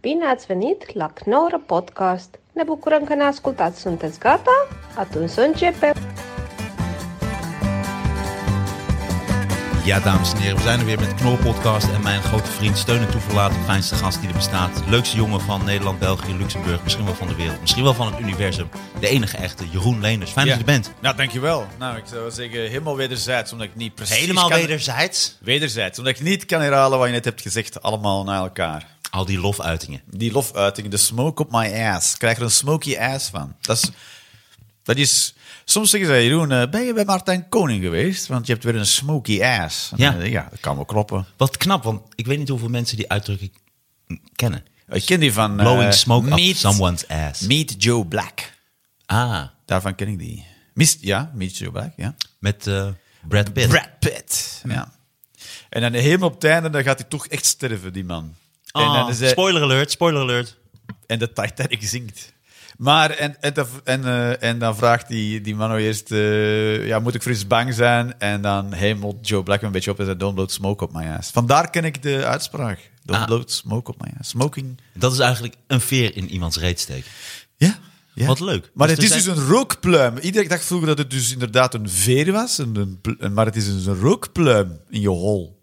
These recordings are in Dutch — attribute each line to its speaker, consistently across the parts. Speaker 1: Bine ați venit la Knorr Podcast! Ne bucurăm că ne ascultați! Sunteți gata? Atunci să începem!
Speaker 2: Ja, dames en heren, we zijn er weer met de Knol Podcast en mijn grote vriend, steun en toeverlaten, fijnste gast die er bestaat. Leukste jongen van Nederland, België, Luxemburg, misschien wel van de wereld, misschien wel van het universum. De enige echte Jeroen Leenders. Fijn
Speaker 3: Ja.
Speaker 2: dat je er bent.
Speaker 3: Nou, dankjewel. Nou, ik zou zeggen, helemaal wederzijds, omdat ik niet precies
Speaker 2: Helemaal
Speaker 3: kan...
Speaker 2: wederzijds.
Speaker 3: Wederzijds, omdat ik niet kan herhalen wat je net hebt gezegd, allemaal naar elkaar.
Speaker 2: Al die lofuitingen.
Speaker 3: Die lofuiting, de smoke op my ass. Ik krijg er een smoky ass van. Dat is... Dat is soms zeggen ze, Jeroen, eh, ben je bij Martijn Koning geweest? Want je hebt weer een smoky ass. En
Speaker 2: Ja.
Speaker 3: dan zeg ik, ja dat kan wel kloppen.
Speaker 2: Wat knap, want ik weet niet hoeveel mensen die uitdrukking kennen.
Speaker 3: Ik ken die van... eh,
Speaker 2: Blowing smoke up
Speaker 3: Meet-
Speaker 2: someone's ass.
Speaker 3: Meet Joe Black.
Speaker 2: Ah,
Speaker 3: Daarvan ken ik die. Mist, ja, Meet Joe Black, ja.
Speaker 2: met eh, Brad Pitt.
Speaker 3: Brad Pitt. Ja. En dan helemaal op het einde dan gaat hij toch echt sterven, die man. en,
Speaker 2: Ah,
Speaker 3: dan is eh, hij-
Speaker 2: Spoiler alert, spoiler alert.
Speaker 3: en de Titanic zinkt. Maar, en, en, dan- en, eh, en dan vraagt die, die man nou eerst, eh, ja, moet ik voor iets bang zijn? En dan hemelt Joe Black een beetje op en zegt, don't blow smoke op my ass. Vandaar ken ik de uitspraak. Don't
Speaker 2: Ah.
Speaker 3: blow smoke op my ass. Smoking.
Speaker 2: Dat is eigenlijk een veer in iemands reet steken.
Speaker 3: Ja. ja.
Speaker 2: Wat leuk.
Speaker 3: Maar
Speaker 2: Dus
Speaker 3: het is
Speaker 2: er
Speaker 3: dus
Speaker 2: zijn-
Speaker 3: een rookpluim. Iedereen dacht vroeger dat het dus inderdaad een veer was, een, een pl- een- maar het is dus een rookpluim in je hol.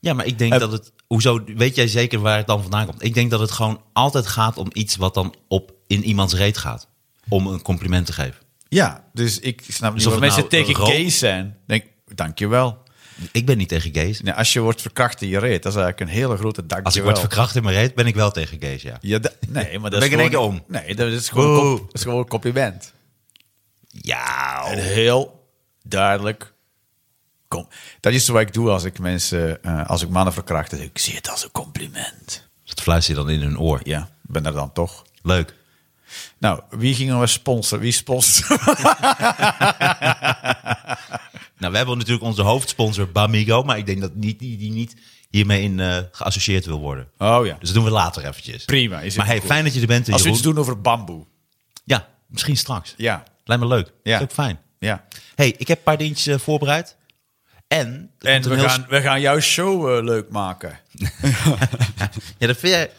Speaker 2: Ja, maar ik denk
Speaker 3: Eh,
Speaker 2: dat het. Hoezo weet jij zeker waar het dan vandaan komt? Ik denk dat het gewoon altijd gaat om iets wat dan op in iemands reet gaat. Om een compliment te geven.
Speaker 3: Ja, dus ik snap niet
Speaker 2: of
Speaker 3: of
Speaker 2: het
Speaker 3: mensen
Speaker 2: nou
Speaker 3: tegen
Speaker 2: rook-
Speaker 3: gays zijn. Denk, dankjewel.
Speaker 2: Ik ben niet tegen gays.
Speaker 3: Nee, als je wordt verkracht in je reet, dat is eigenlijk een hele grote dankjewel.
Speaker 2: Als ik word verkracht in mijn reet, ben ik wel tegen gays, ja.
Speaker 3: Ja, da- nee, maar
Speaker 2: Ben
Speaker 3: dat is
Speaker 2: ik in één
Speaker 3: gewoon-
Speaker 2: keer
Speaker 3: Nee, dat is gewoon,
Speaker 2: Wow.
Speaker 3: kop- dat is gewoon een compliment.
Speaker 2: Ja.
Speaker 3: Een
Speaker 2: oh.
Speaker 3: heel duidelijk... Kom. Dat is wat ik doe als ik mensen, eh, als ik mannen verkracht. dan zeg ik, ik zie het als een compliment.
Speaker 2: Dat fluister je dan in hun oor.
Speaker 3: Ja, ik ben er dan toch.
Speaker 2: Leuk.
Speaker 3: Nou, wie gingen we sponsoren? Wie sponsort?
Speaker 2: Nou, we hebben natuurlijk onze hoofdsponsor Bamigo, maar ik denk dat die, die, die niet hiermee in eh, geassocieerd wil worden.
Speaker 3: Oh ja.
Speaker 2: Dus dat doen we later eventjes.
Speaker 3: Prima, is het
Speaker 2: maar hey,
Speaker 3: goed.
Speaker 2: fijn dat je er bent,
Speaker 3: Als we iets
Speaker 2: Jeroen.
Speaker 3: doen over bamboe.
Speaker 2: Ja, misschien straks.
Speaker 3: Ja,
Speaker 2: Lijkt me leuk.
Speaker 3: Ja.
Speaker 2: Is ook fijn.
Speaker 3: ja.
Speaker 2: hey, ik heb een paar dingetjes eh, voorbereid. En, er
Speaker 3: En
Speaker 2: komt een
Speaker 3: we
Speaker 2: heel
Speaker 3: gaan, we gaan jouw show eh, leuk maken.
Speaker 2: Ja, dat vind jij...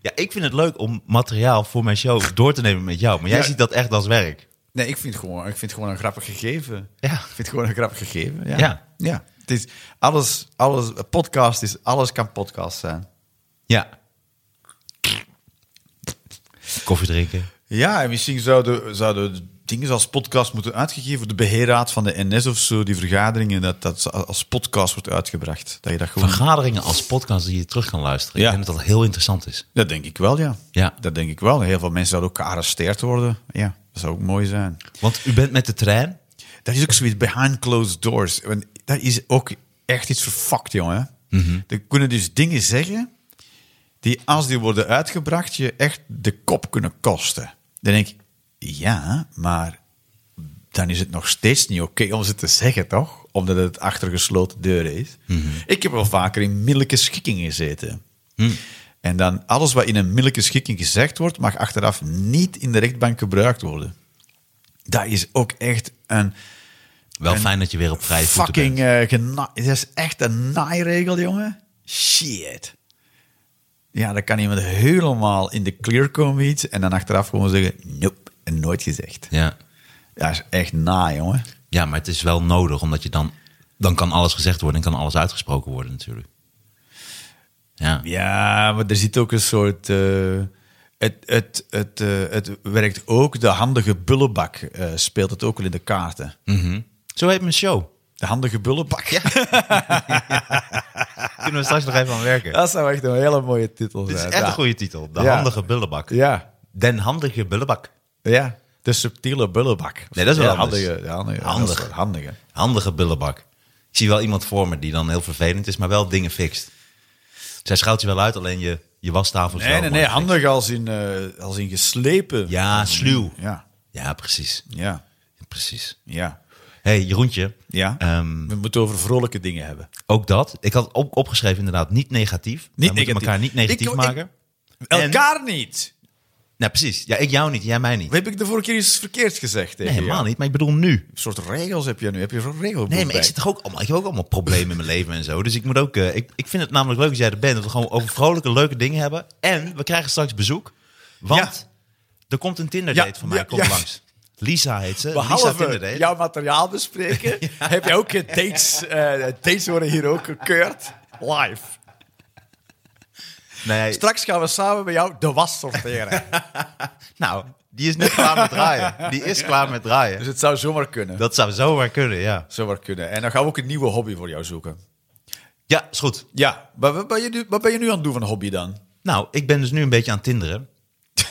Speaker 2: Ja, ik vind het leuk om materiaal voor mijn show door te nemen met jou. Maar jij
Speaker 3: Ja.
Speaker 2: ziet dat echt als werk.
Speaker 3: Nee, ik vind het gewoon, ik vind het gewoon een grappig gegeven.
Speaker 2: Ja.
Speaker 3: Ik vind het gewoon een grappig gegeven. Ja.
Speaker 2: Ja.
Speaker 3: Het is alles, alles, een podcast is, alles kan podcast zijn.
Speaker 2: Ja. Koffie drinken.
Speaker 3: Ja, en misschien zouden, zouden dingen als podcast moeten uitgegeven. De beheerraad van de NS of zo, die vergaderingen, dat dat ze als podcast wordt uitgebracht. Dat je dat gewoon.
Speaker 2: Vergaderingen als podcast die je terug kan luisteren.
Speaker 3: Ja.
Speaker 2: Ik denk dat dat heel interessant is.
Speaker 3: Dat denk ik wel, ja.
Speaker 2: Ja.
Speaker 3: Dat denk ik wel. Heel veel mensen zouden ook gearresteerd worden. Ja, dat zou ook mooi zijn.
Speaker 2: Want u bent met de trein.
Speaker 3: Dat is ook zoiets behind closed doors. Want dat is ook echt iets verfakt, jongen. Er kunnen dus dingen zeggen die, als die worden uitgebracht, je echt de kop kunnen kosten. Dan denk ik, ja, maar dan is het nog steeds niet oké om ze te zeggen, toch? Omdat het achter gesloten deuren is. Ik heb wel vaker in middellijke schikking gezeten. En dan alles wat in een middellijke schikking gezegd wordt, mag achteraf niet in de rechtbank gebruikt worden. Dat is ook echt een
Speaker 2: Wel
Speaker 3: En
Speaker 2: fijn dat je weer op vrije voeten bent.
Speaker 3: fucking... eh, gena- dat is echt een naairegel, jongen. Shit. Ja, dan kan iemand helemaal in de clear komen iets en dan achteraf gewoon zeggen, nope, en nooit gezegd.
Speaker 2: Ja.
Speaker 3: Dat is echt na, jongen.
Speaker 2: ja, maar het is wel nodig. Omdat je dan... Dan kan alles gezegd worden en kan alles uitgesproken worden natuurlijk. Ja.
Speaker 3: Ja, maar er zit ook een soort... eh, het, het, het, eh, het werkt ook, de handige bullenbak eh, speelt het ook wel in de kaarten.
Speaker 2: Zo heet mijn show.
Speaker 3: De handige bullenbak.
Speaker 2: Kunnen we straks nog even aan werken.
Speaker 3: Dat zou echt een hele mooie titel
Speaker 2: Dit
Speaker 3: zijn.
Speaker 2: is echt
Speaker 3: Ja.
Speaker 2: een goede titel. De
Speaker 3: Ja.
Speaker 2: handige bullenbak.
Speaker 3: Ja,
Speaker 2: Den handige bullenbak.
Speaker 3: Ja, de subtiele bullenbak.
Speaker 2: Nee, dat is wel
Speaker 3: Ja,
Speaker 2: anders.
Speaker 3: handige, ja, handige,
Speaker 2: Handig.
Speaker 3: dat is wel handige.
Speaker 2: Handige bullenbak. Ik zie wel iemand voor me die dan heel vervelend is, maar wel dingen fixt. Zij schuilt je wel uit, alleen je, je wastafel is
Speaker 3: Nee,
Speaker 2: wel
Speaker 3: nee,
Speaker 2: mooi
Speaker 3: nee,
Speaker 2: gefixt.
Speaker 3: handig als in, eh, als in geslepen.
Speaker 2: Ja, sluw.
Speaker 3: Ja,
Speaker 2: Ja, precies.
Speaker 3: ja,
Speaker 2: Precies.
Speaker 3: ja.
Speaker 2: hey, Jeroentje.
Speaker 3: ja.
Speaker 2: Ehm,
Speaker 3: We moeten over vrolijke dingen hebben.
Speaker 2: ook dat. Ik had op, opgeschreven inderdaad, niet negatief. We moeten
Speaker 3: negatief.
Speaker 2: elkaar niet negatief
Speaker 3: Ik- ik-
Speaker 2: maken. En-
Speaker 3: Elkaar niet.
Speaker 2: Nou, precies. Ja, ik jou niet, jij mij niet.
Speaker 3: Heb ik de vorige keer iets verkeerds gezegd tegen
Speaker 2: Nee,
Speaker 3: jou?
Speaker 2: helemaal niet. Maar ik bedoel nu.
Speaker 3: Een soort regels heb je nu. Heb je zo'n regelboek
Speaker 2: Nee, maar
Speaker 3: bij?
Speaker 2: ik, zit toch ook allemaal, ik heb ook allemaal problemen in mijn leven en zo. Dus ik, moet ook, eh, ik, ik vind het namelijk leuk dat jij er bent. Dat we gewoon over vrolijke, leuke dingen hebben. En we krijgen straks bezoek. Want er komt een Tinder-date
Speaker 3: Ja,
Speaker 2: van mij.
Speaker 3: ja,
Speaker 2: komt
Speaker 3: ja.
Speaker 2: langs. Lisa heet ze. Lisa
Speaker 3: Behalve
Speaker 2: Tinder-date.
Speaker 3: jouw materiaal bespreken, heb je ook eh, dates. eh, dates worden hier ook gekeurd. Live.
Speaker 2: Nee,
Speaker 3: Straks gaan we samen bij jou de was sorteren.
Speaker 2: nou, die is net klaar met draaien. Die is klaar met
Speaker 3: dus
Speaker 2: draaien.
Speaker 3: het zou zomaar kunnen.
Speaker 2: Dat zou zomaar kunnen, ja.
Speaker 3: Zomaar kunnen. En dan gaan we ook een nieuwe hobby voor jou zoeken.
Speaker 2: Ja, is goed.
Speaker 3: Ja, maar wat ben je nu, wat ben je nu aan het doen van hobby dan?
Speaker 2: Nou, ik ben dus nu een beetje aan het tinderen.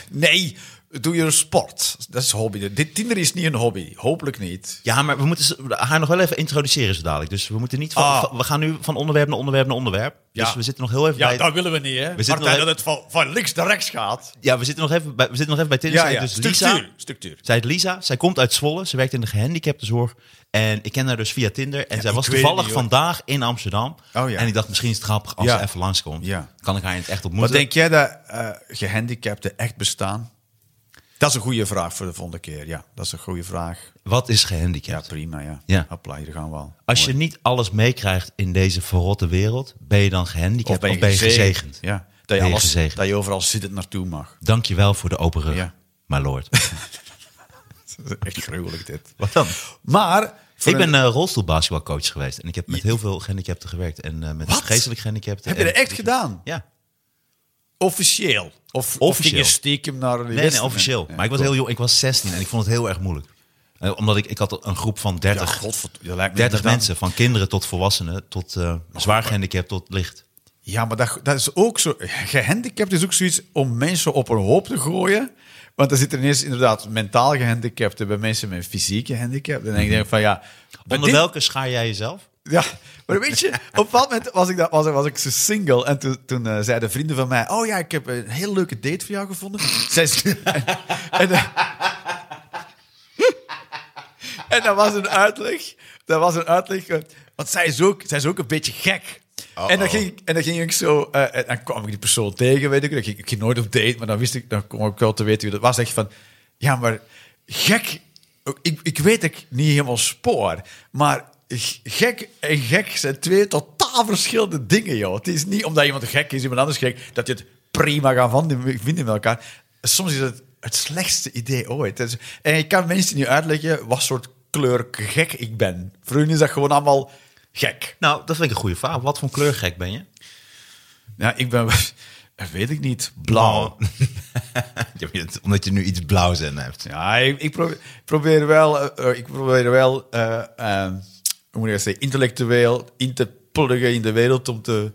Speaker 3: Nee, doe je sport. Dat is hobby. Dit Tinder is niet een hobby. Hopelijk niet.
Speaker 2: Ja, maar we moeten ze- haar nog wel even introduceren zo dadelijk. Dus we moeten niet van,
Speaker 3: Ah.
Speaker 2: van- we gaan nu van onderwerp naar onderwerp naar onderwerp.
Speaker 3: Ja.
Speaker 2: Dus we zitten nog heel even bij.
Speaker 3: willen we niet, hè?
Speaker 2: zitten nog
Speaker 3: Partij
Speaker 2: even-
Speaker 3: dat het van, van links naar rechts gaat.
Speaker 2: Ja, we zitten nog even bij, we zitten nog even bij Tinder. Zij heet Dus Lisa.
Speaker 3: Structuur.
Speaker 2: Zij heet Lisa. Zij komt uit Zwolle. Ze werkt in de gehandicaptenzorg. En ik ken haar dus via Tinder. En zij was
Speaker 3: weet het
Speaker 2: toevallig
Speaker 3: niet, hoor.
Speaker 2: vandaag in Amsterdam.
Speaker 3: Oh, ja.
Speaker 2: En ik dacht, misschien is het grappig als
Speaker 3: Ja.
Speaker 2: ze even langskomt.
Speaker 3: Ja.
Speaker 2: Kan ik haar in het echt
Speaker 3: Wat
Speaker 2: ontmoeten?
Speaker 3: denk jij dat eh, gehandicapten echt bestaan? Dat is een goede vraag voor de volgende keer. Ja, dat is een goede vraag.
Speaker 2: Wat is
Speaker 3: Ja,
Speaker 2: gehandicapt?
Speaker 3: prima. Ja.
Speaker 2: Ja.
Speaker 3: Hopla, hier gaan we al.
Speaker 2: Als je niet alles meekrijgt in deze verrotte wereld, ben je dan gehandicapt of ben je, gezegend?
Speaker 3: Ja.
Speaker 2: Ben
Speaker 3: Dat
Speaker 2: je
Speaker 3: je, alles,
Speaker 2: gezegend.
Speaker 3: dat je overal zittend naartoe mag.
Speaker 2: Dankjewel voor de open rug,
Speaker 3: Ja.
Speaker 2: my lord.
Speaker 3: Dat is echt gruwelijk dit.
Speaker 2: Wat dan?
Speaker 3: Maar... voor
Speaker 2: Ik ben
Speaker 3: een-
Speaker 2: eh, rolstoelbasketbalcoach geweest en ik heb met heel veel gehandicapten gewerkt en eh, met
Speaker 3: Wat?
Speaker 2: geestelijk gehandicapten.
Speaker 3: Heb je
Speaker 2: en-
Speaker 3: dat echt gedaan?
Speaker 2: Ja.
Speaker 3: Officieel? Of, of
Speaker 2: Officieel.
Speaker 3: ging je stiekem naar de
Speaker 2: Nee, nee, officieel. Maar ik was heel jong, ik was 16 en ik vond het heel erg moeilijk. Eh, omdat ik, ik had een groep van 30,
Speaker 3: godverdomme. lijkt me
Speaker 2: 30
Speaker 3: inderdaad-
Speaker 2: mensen, van kinderen tot volwassenen, tot eh, zwaar gehandicapt tot licht.
Speaker 3: Ja, maar dat, dat is ook zo. Gehandicapt is ook zoiets om mensen op een hoop te gooien. Want dan zitten ineens inderdaad mentaal gehandicapten bij mensen met fysieke handicap. Dan denk ik van ja. maar
Speaker 2: Onder
Speaker 3: dit-
Speaker 2: welke schaar jij jezelf?
Speaker 3: Ja, maar weet je, op dat moment was ik, dat, was, was ik zo single. En toen, toen eh, zeiden vrienden van mij: Oh ja, ik heb een heel leuke date voor jou gevonden. Zij is- en, en, eh, en dat was een uitleg. Dat was een uitleg. eh, Want zij is ook, zij is ook een beetje gek. En dan, ging, ik- en dan ging ik zo, eh, en dan kwam ik die persoon tegen, weet ik. Dan ging, ik ging nooit op date, maar dan wist ik, dan kwam ik wel te weten wie dat was. Zeg je van, ja, maar gek, ik, ik weet dat ik niet helemaal spoor, maar g- gek en gek zijn twee totaal verschillende dingen, joh. Het is niet omdat iemand gek is, iemand anders gek, dat je het prima gaat van- vinden met elkaar. Soms is het het slechtste idee ooit. Dus- En ik kan mensen niet uitleggen wat soort kleur gek ik ben. Voor hun is dat gewoon allemaal gek.
Speaker 2: Nou, dat vind ik een goede vraag. Wat voor kleurgek ben je?
Speaker 3: Ja, ik ben, dat weet ik niet, blauw.
Speaker 2: Oh. Je bent- Omdat je nu iets blauws in hebt.
Speaker 3: Ja, ik, ik probeer, probeer wel, eh, eh, ik probeer wel eh, eh, hoe moet ik dat zeggen, intellectueel in te pluggen in de wereld om te,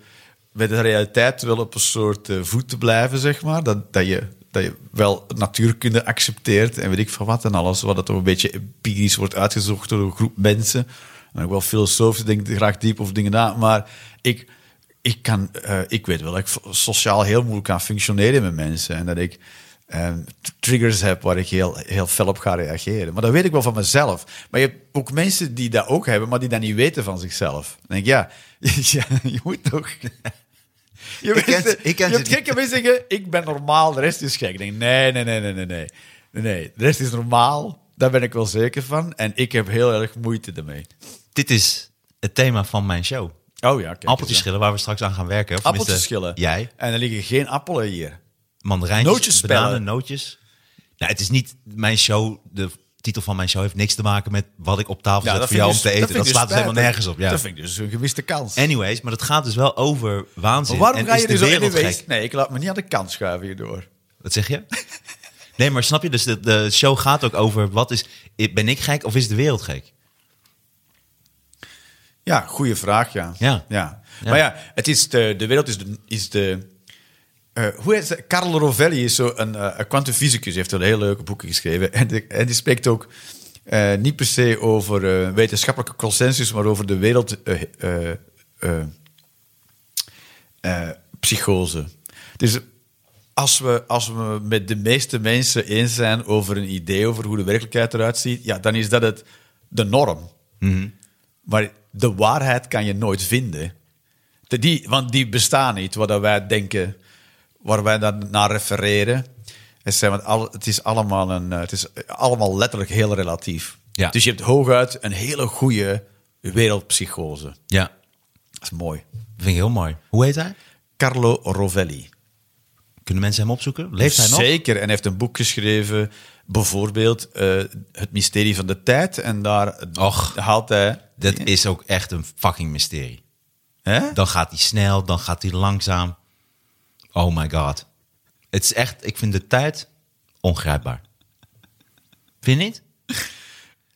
Speaker 3: met de realiteit wel op een soort eh, voet te blijven, zeg maar. Dat, dat, je, dat je wel natuurkunde accepteert en weet ik van wat en alles, wat dat toch een beetje empirisch wordt uitgezocht door een groep mensen. En ook wel filosofisch, denk ik graag diep over dingen na, maar ik... Ik, kan, eh, ik weet wel dat ik sociaal heel moeilijk kan functioneren met mensen. En dat ik ehm, t- triggers heb waar ik heel, heel fel op ga reageren. Maar dat weet ik wel van mezelf. Maar je hebt ook mensen die dat ook hebben, maar die dat niet weten van zichzelf. Dan denk ik, ja, ja je moet toch... Je,
Speaker 2: Ik ken
Speaker 3: mensen-
Speaker 2: ze- ik ken
Speaker 3: je
Speaker 2: ze
Speaker 3: hebt
Speaker 2: niet.
Speaker 3: gekke mensen die zeggen, ik ben normaal, de rest is gek. Ik denk, nee, nee, nee, nee, nee, nee. Nee, nee, de rest is normaal. Daar ben ik wel zeker van. En ik heb heel erg moeite ermee.
Speaker 2: Dit is het thema van mijn show.
Speaker 3: Oh ja, kijk
Speaker 2: Appeltjes
Speaker 3: eens aan.
Speaker 2: schillen, waar we straks aan gaan werken. Of tenminste,
Speaker 3: Appeltjes schillen.
Speaker 2: Jij. Dus
Speaker 3: En er liggen geen appelen hier.
Speaker 2: Mandarijntjes,
Speaker 3: Nootjes spellen.
Speaker 2: bananen, nootjes. Nou, het is niet mijn show, de titel van mijn show heeft niks te maken met wat ik op tafel zet
Speaker 3: dat
Speaker 2: voor
Speaker 3: vind
Speaker 2: jou
Speaker 3: ik
Speaker 2: om
Speaker 3: dus-
Speaker 2: te eten. Dat,
Speaker 3: vind ik
Speaker 2: slaat dus
Speaker 3: dus
Speaker 2: helemaal nergens op.
Speaker 3: spijtig.
Speaker 2: Ja.
Speaker 3: Dat vind ik dus een gemiste kans.
Speaker 2: Anyways, maar dat gaat dus wel over waanzin.
Speaker 3: Maar waarom
Speaker 2: en
Speaker 3: ga
Speaker 2: is
Speaker 3: je
Speaker 2: de
Speaker 3: nu zo
Speaker 2: wereld
Speaker 3: anyways?
Speaker 2: gek?
Speaker 3: Nee, ik laat me niet aan de kant schuiven hierdoor.
Speaker 2: Wat zeg je? Nee, maar snap je? Dus de, de show gaat ook over wat is, ben ik gek of is de wereld gek?
Speaker 3: Ja, goede vraag, ja.
Speaker 2: Ja.
Speaker 3: ja.
Speaker 2: Ja.
Speaker 3: Maar ja, het is de, de wereld is de... Is de eh, hoe heet ze? Carlo Rovelli is zo een eh, een kwantumfysicus. heeft een heel leuke boeken geschreven. En, de- en die spreekt ook eh, niet per se over eh, wetenschappelijke consensus, maar over de wereld... eh, eh, eh, eh, psychose. Dus als we, als we met de meeste mensen eens zijn over een idee over hoe de werkelijkheid eruit ziet, ja, dan is dat het, de norm. Maar de waarheid kan je nooit vinden. De- die, want die bestaan niet, wat dat wij denken, waar wij dan naar refereren. Het, zijn, want alle- het is allemaal een, eh, het is allemaal letterlijk heel relatief.
Speaker 2: Ja.
Speaker 3: Dus je hebt hooguit een hele goede wereldpsychose.
Speaker 2: Ja,
Speaker 3: Dat is mooi.
Speaker 2: dat vind ik heel mooi. Hoe heet hij?
Speaker 3: Carlo Rovelli.
Speaker 2: Kunnen mensen hem opzoeken? Leeft hij nog?
Speaker 3: Zeker. En hij heeft een boek geschreven, bijvoorbeeld eh, Het Mysterie van de Tijd. En daar
Speaker 2: Och.
Speaker 3: haalt hij...
Speaker 2: Dat is ook echt een fucking mysterie.
Speaker 3: Hè?
Speaker 2: Dan gaat hij snel, dan gaat hij langzaam. Oh my god. Het is echt, ik vind de tijd ongrijpbaar. Vind je niet?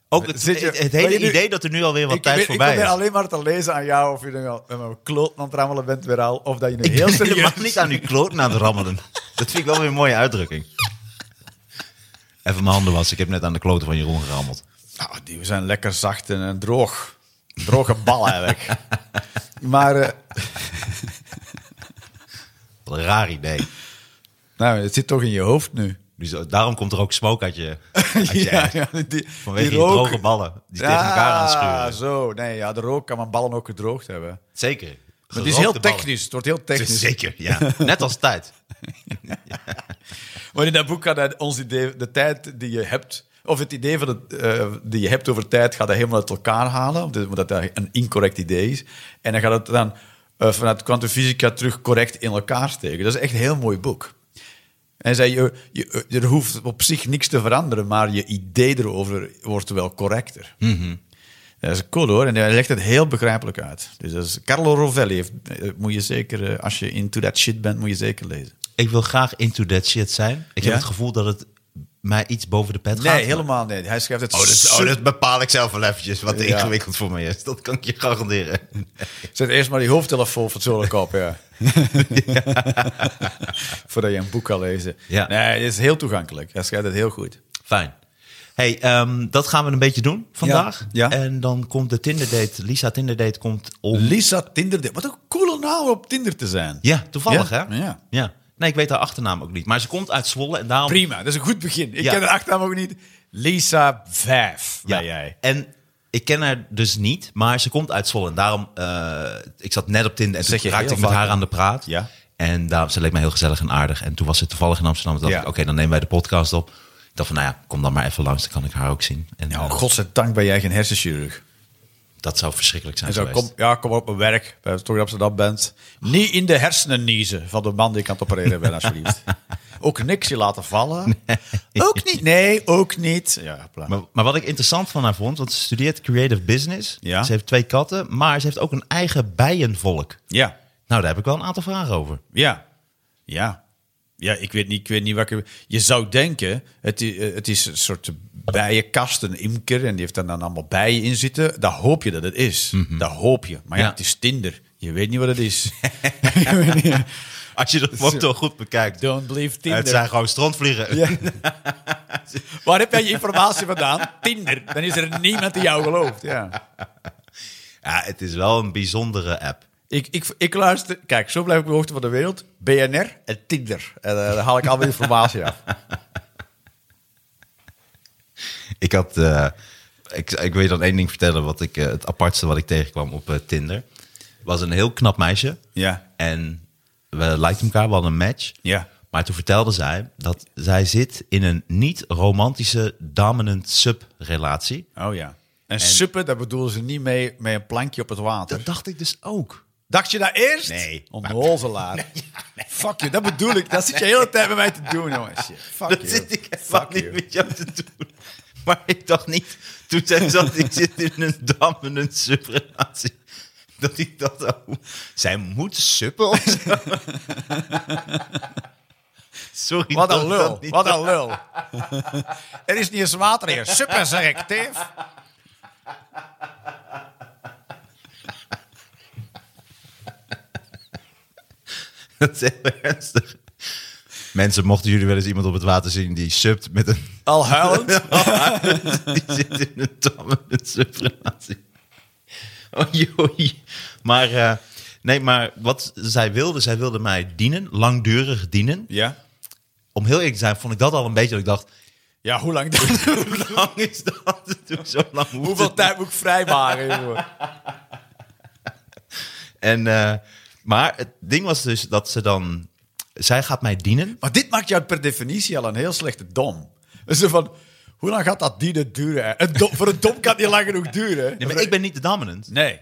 Speaker 2: Ook het,
Speaker 3: Zit je-
Speaker 2: het- het
Speaker 3: ben je
Speaker 2: hele
Speaker 3: nu-
Speaker 2: idee dat er nu alweer wat
Speaker 3: ik
Speaker 2: tijd
Speaker 3: ben,
Speaker 2: voorbij
Speaker 3: ik ben
Speaker 2: is.
Speaker 3: alleen maar te lezen aan jou of je nu al met een kloot aan het rammelen bent weer al. Of dat je nu
Speaker 2: Ik
Speaker 3: heel
Speaker 2: ben
Speaker 3: serieus...
Speaker 2: helemaal niet aan uw kloot aan het rammelen. Dat vind ik wel weer een mooie uitdrukking. Even mijn handen wassen. Ik heb net aan de kloten van Jeroen gerammeld.
Speaker 3: Nou, die zijn lekker zacht en, en droog. Droge bal eigenlijk. maar eh,
Speaker 2: Wat een raar idee.
Speaker 3: nou, het zit toch in je hoofd nu.
Speaker 2: Dus daarom komt er ook smoke uit je, uit je eigen.
Speaker 3: ja, die,
Speaker 2: Vanwege die,
Speaker 3: rook.
Speaker 2: droge ballen die tegen elkaar
Speaker 3: Ah,
Speaker 2: aanschuren.
Speaker 3: zo. Nee, ja, de rook kan mijn ballen ook gedroogd hebben.
Speaker 2: Zeker.
Speaker 3: Maar het is heel
Speaker 2: Gerookte ballen.
Speaker 3: technisch. Het wordt heel technisch.
Speaker 2: Zeker, ja. Net als tijd.
Speaker 3: Maar in dat boek gaat hij ons idee, de tijd die je hebt, of het idee van het, eh, die je hebt over tijd, gaat hij helemaal uit elkaar halen, omdat omdat dat een incorrect idee is. En dan gaat het dan eh, vanuit kwantumfysica terug correct in elkaar steken. Dat is echt een heel mooi boek. En hij zei, je, je, er hoeft op zich niks te veranderen, maar je idee erover wordt wel correcter. Dat is cool hoor, en hij legt het heel begrijpelijk uit. Dus dat is, Carlo Rovelli, heeft, eh, moet je zeker, eh, als je into that shit bent, moet je zeker lezen.
Speaker 2: Ik wil graag into that shit zijn. Ik
Speaker 3: Ja?
Speaker 2: heb het gevoel dat het mij iets boven de pet gaat.
Speaker 3: Nee, helemaal nee. Hij schrijft het
Speaker 2: Oh dat,
Speaker 3: super-
Speaker 2: oh, dat bepaal ik zelf wel eventjes wat
Speaker 3: Ja.
Speaker 2: ingewikkeld voor mij is. Dat kan ik je garanderen.
Speaker 3: Zet eerst maar die hoofdtelefoon fatsoenlijk op, ja. Voordat je een boek kan lezen.
Speaker 2: Ja.
Speaker 3: Nee, het is heel toegankelijk. Hij schrijft het heel goed.
Speaker 2: Fijn. Hey, ehm, dat gaan we een beetje doen vandaag.
Speaker 3: ja.
Speaker 2: En dan komt de Tinder date. Lisa Tinder date komt om.
Speaker 3: Lisa Tinder. Wat een coole naam om op Tinder te zijn.
Speaker 2: Ja, toevallig
Speaker 3: Ja,
Speaker 2: hè?
Speaker 3: ja.
Speaker 2: Nee, ik weet haar achternaam ook niet. Maar ze komt uit Zwolle en daarom.
Speaker 3: Prima, dat is een goed begin. Ik
Speaker 2: Ja.
Speaker 3: ken de achternaam ook niet. Lisa 5
Speaker 2: Ja.
Speaker 3: ben jij.
Speaker 2: En ik ken haar dus niet, maar ze komt uit Zwolle. En daarom, eh, ik zat net op Tinder en
Speaker 3: Zeg
Speaker 2: toen
Speaker 3: je
Speaker 2: raakte
Speaker 3: heel
Speaker 2: ik met
Speaker 3: vaak,
Speaker 2: haar
Speaker 3: hè?
Speaker 2: aan de praat.
Speaker 3: Ja.
Speaker 2: En daar, ze leek mij heel gezellig en aardig. En toen was ze toevallig in Amsterdam. Toen dacht
Speaker 3: Ja.
Speaker 2: ik, oké, dan nemen wij de podcast op. Ik dacht van, nou ja, kom dan maar even langs. Dan kan ik haar ook zien. En
Speaker 3: Nou,
Speaker 2: eh,
Speaker 3: godzijdank ben jij geen hersenchirurg.
Speaker 2: dat zou verschrikkelijk zijn
Speaker 3: En zo,
Speaker 2: geweest.
Speaker 3: kom, ja, kom op mijn werk. Bij Story Amsterdam bent. Niet in de hersenen niezen van de man die ik aan het opereren ben, alsjeblieft. ook niks je laten vallen. Ook niet. Nee, ook niet. Ja, pla-
Speaker 2: Maar, maar wat ik interessant van haar vond, want ze studeert creative business.
Speaker 3: Ja.
Speaker 2: Ze heeft twee katten, maar ze heeft ook een eigen bijenvolk.
Speaker 3: ja,
Speaker 2: Nou, daar heb ik wel een aantal vragen over.
Speaker 3: ja, ja. Ja, ik weet niet, ik weet niet wat ik... Je zou denken, het is, eh, het is een soort bijenkast, een imker... en die heeft daar dan allemaal bijen in zitten. Daar hoop je dat het is. Dat hoop je. Maar
Speaker 2: Mhm.
Speaker 3: ja,
Speaker 2: Ja.
Speaker 3: het is Tinder. Je weet niet wat het is. Je weet niet.
Speaker 2: Als je dat foto goed bekijkt.
Speaker 3: Don't believe
Speaker 2: Het
Speaker 3: Tinder.
Speaker 2: zijn gewoon strandvliegen.
Speaker 3: Ja. Waar heb jij je informatie vandaan? Tinder. Dan is er niemand die jou gelooft. Ja.
Speaker 2: Ja, het is wel een bijzondere app.
Speaker 3: Ik, ik, ik luister... Kijk, zo blijf ik op de hoogte van de wereld. BNR en Tinder. En eh, daar haal ik al mijn informatie af.
Speaker 2: Ik had. eh, ik, ik wil je dan één ding vertellen. Wat ik, eh, het apartste wat ik tegenkwam op eh, Tinder. Was een heel knap meisje.
Speaker 3: Ja.
Speaker 2: En we likten elkaar, we hadden een match.
Speaker 3: Ja.
Speaker 2: Maar toen vertelde zij dat zij zit in een niet-romantische dominant-sub-relatie.
Speaker 3: Oh ja. En, suppen, daar bedoelen ze niet mee met een plankje op het water.
Speaker 2: Dat dacht ik dus ook.
Speaker 3: Dacht je dat eerst?
Speaker 2: Nee.
Speaker 3: Onnozelaar. Fuck je, dat bedoel ik. Dat zit je de hele tijd bij mij te doen, jongens. Shit. Fuck
Speaker 2: Dat
Speaker 3: you.
Speaker 2: zit ik helemaal
Speaker 3: Fuck
Speaker 2: niet
Speaker 3: you.
Speaker 2: met jou te doen. Maar ik dacht niet, toen zij zat, ik zit in een dominant subrelatie. Dat ik dacht, oh, zij moet suppen of zo. Sorry
Speaker 3: Wat
Speaker 2: dat
Speaker 3: een
Speaker 2: ik
Speaker 3: lul.
Speaker 2: dat niet-
Speaker 3: Wat een lul. er is niet eens water hier. Super selectief.
Speaker 2: Dat is heel ernstig. Mensen, mochten jullie wel eens iemand op het water zien die subt met een...
Speaker 3: Al huilend.
Speaker 2: die zit in een dominant subrelatie. Oh, joh. Maar, eh, nee, maar wat zij wilde, zij wilde mij dienen, langdurig dienen.
Speaker 3: Ja.
Speaker 2: om heel eerlijk te zijn, vond ik dat al een beetje dat ik dacht,
Speaker 3: Ja, hoe lang dan?
Speaker 2: hoe lang is dat? Toen zo lang hoeft
Speaker 3: Hoeveel
Speaker 2: het
Speaker 3: tijd moet ik vrijmaken, jongen?
Speaker 2: niet. En, eh, maar het ding was dus dat ze dan zij gaat mij dienen.
Speaker 3: Maar dit maakt jou per definitie al een heel slechte dom. Dus Zo van, hoe lang gaat dat dienen duren? hè? Een dom- voor een dom kan het niet lang genoeg duren.
Speaker 2: Nee, maar ik ben niet de dominant.
Speaker 3: nee.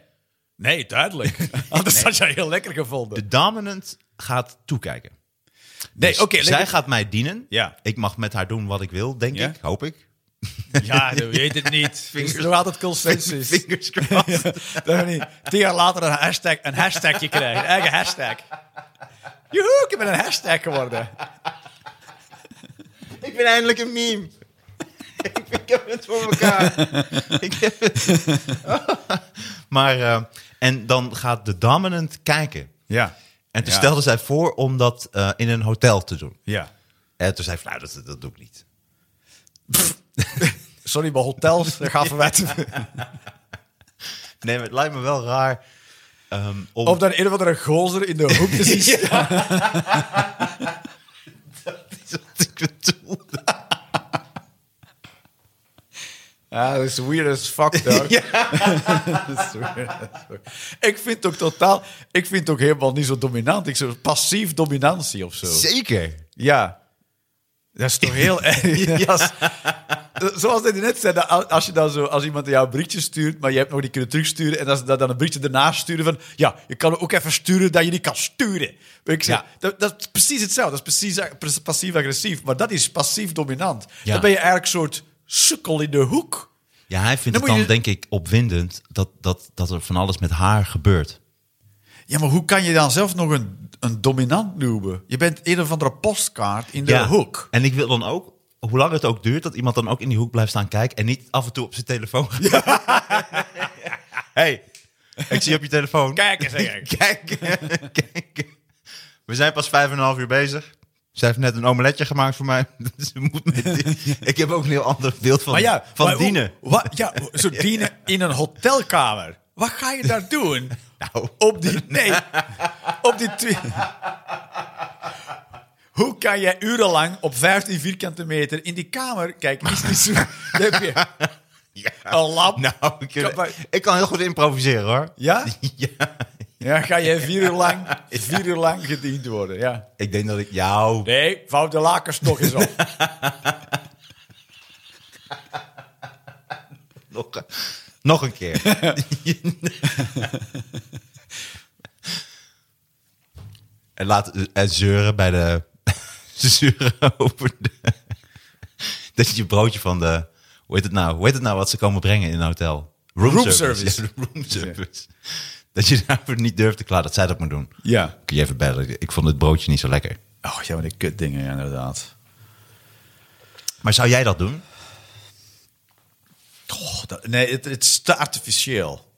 Speaker 3: Nee, duidelijk. Anders had jij heel lekker gevonden.
Speaker 2: De dominant gaat toekijken.
Speaker 3: Nee,
Speaker 2: Dus
Speaker 3: oké. leg
Speaker 2: zij
Speaker 3: het-
Speaker 2: gaat mij dienen.
Speaker 3: Ja.
Speaker 2: Ik mag met haar doen wat ik wil, denk
Speaker 3: Ja.
Speaker 2: ik. Hoop ik.
Speaker 3: Ja, je weet het niet. Er is nog altijd consensus.
Speaker 2: Fingers crossed.
Speaker 3: Dat we niet tien jaar later een, hashtag, een hashtagje krijgen. Een eigen hashtag. Joehoe, ik ben een hashtag geworden.
Speaker 2: Ik ben eindelijk een meme. ik, ik heb het voor elkaar. ik heb het. maar, eh, en dan gaat de dominant kijken.
Speaker 3: Ja.
Speaker 2: En toen
Speaker 3: Ja.
Speaker 2: stelde zij voor om dat eh, in een hotel te doen.
Speaker 3: Ja.
Speaker 2: En toen zei ik, nou, dat, dat doe ik niet.
Speaker 3: Sorry, maar hotels, daar gaan we weg.
Speaker 2: Nee, maar het lijkt me wel raar ehm, om...
Speaker 3: Of dan een of andere gozer in de hoek te zien staan.
Speaker 2: dat is wat ik bedoel.
Speaker 3: Ja, dat is weird as fuck, dog. Dat is weird as fuck. Ik vind het ook totaal... Ik vind het ook helemaal niet zo dominant. Ik zo passief dominantie of zo.
Speaker 2: Zeker.
Speaker 3: Ja. Dat is toch heel erg. Dat is- Zoals hij net zei, dat al- als, je dan zo, als iemand jou een berichtje stuurt, maar je hebt nog niet kunnen terugsturen, en als ze dat dan een berichtje ernaast sturen van, ja, je kan ook even sturen dat je niet kan sturen. Weet Ik zeg,
Speaker 2: Ja.
Speaker 3: dat, dat is precies hetzelfde. Dat is precies a- pres- passief-agressief, maar dat is passief-dominant.
Speaker 2: Ja.
Speaker 3: Dan ben je eigenlijk een soort sukkel in de hoek.
Speaker 2: Ja, hij vindt
Speaker 3: Dan
Speaker 2: het dan,
Speaker 3: moet je-
Speaker 2: denk ik, opwindend dat, dat, dat er van alles met haar gebeurt.
Speaker 3: Ja, maar hoe kan je dan zelf nog een, een dominant noemen? Je bent een of andere postkaart in de
Speaker 2: ja.
Speaker 3: hoek.
Speaker 2: En ik wil dan ook, hoe lang het ook duurt, dat iemand dan ook in die hoek blijft staan kijken en niet af en toe op zijn telefoon gaat. hey, ik zie op je telefoon.
Speaker 3: Kijk eens, zeg ik.
Speaker 2: Kijk, kijk. We zijn pas vijf en een half uur bezig. Zij heeft net een omeletje gemaakt voor mij. Dus ze moet met die- Ik heb ook een heel ander beeld van,
Speaker 3: Maar ja,
Speaker 2: van
Speaker 3: maar hoe-
Speaker 2: dienen.
Speaker 3: wa- ja, zo dienen in een hotelkamer. Wat ga je daar doen?
Speaker 2: Nou.
Speaker 3: Op die... Nee. Op die... twi- Hoe kan jij urenlang op 15 vierkante meter in die kamer... Kijk, is niet zo... Dan heb je een lamp.
Speaker 2: Nou, ik,
Speaker 3: Kan maar-
Speaker 2: ik kan heel goed improviseren hoor.
Speaker 3: Ja?
Speaker 2: Ja.
Speaker 3: Ja, ga jij vier uur lang, vier uur lang gediend worden, ja.
Speaker 2: Ik denk dat ik jou.
Speaker 3: Nee, vouw de lakens toch eens op.
Speaker 2: Nog, een- nog een keer. en laat en zeuren bij de. zeuren over de. Dat je je broodje van de. Hoe heet het nou? Hoe heet het nou wat ze komen brengen in een hotel? Room,
Speaker 3: service.
Speaker 2: Ja, de room service. Dat je daarvoor niet durft te klaar. Dat zij dat moet doen.
Speaker 3: Ja.
Speaker 2: Kun je even bellen? Ik vond het broodje niet zo lekker.
Speaker 3: Oh, ja, maar die kutdingen, ja, inderdaad.
Speaker 2: Maar zou jij dat doen?
Speaker 3: Goh, dat- nee, het, het is te artificieel,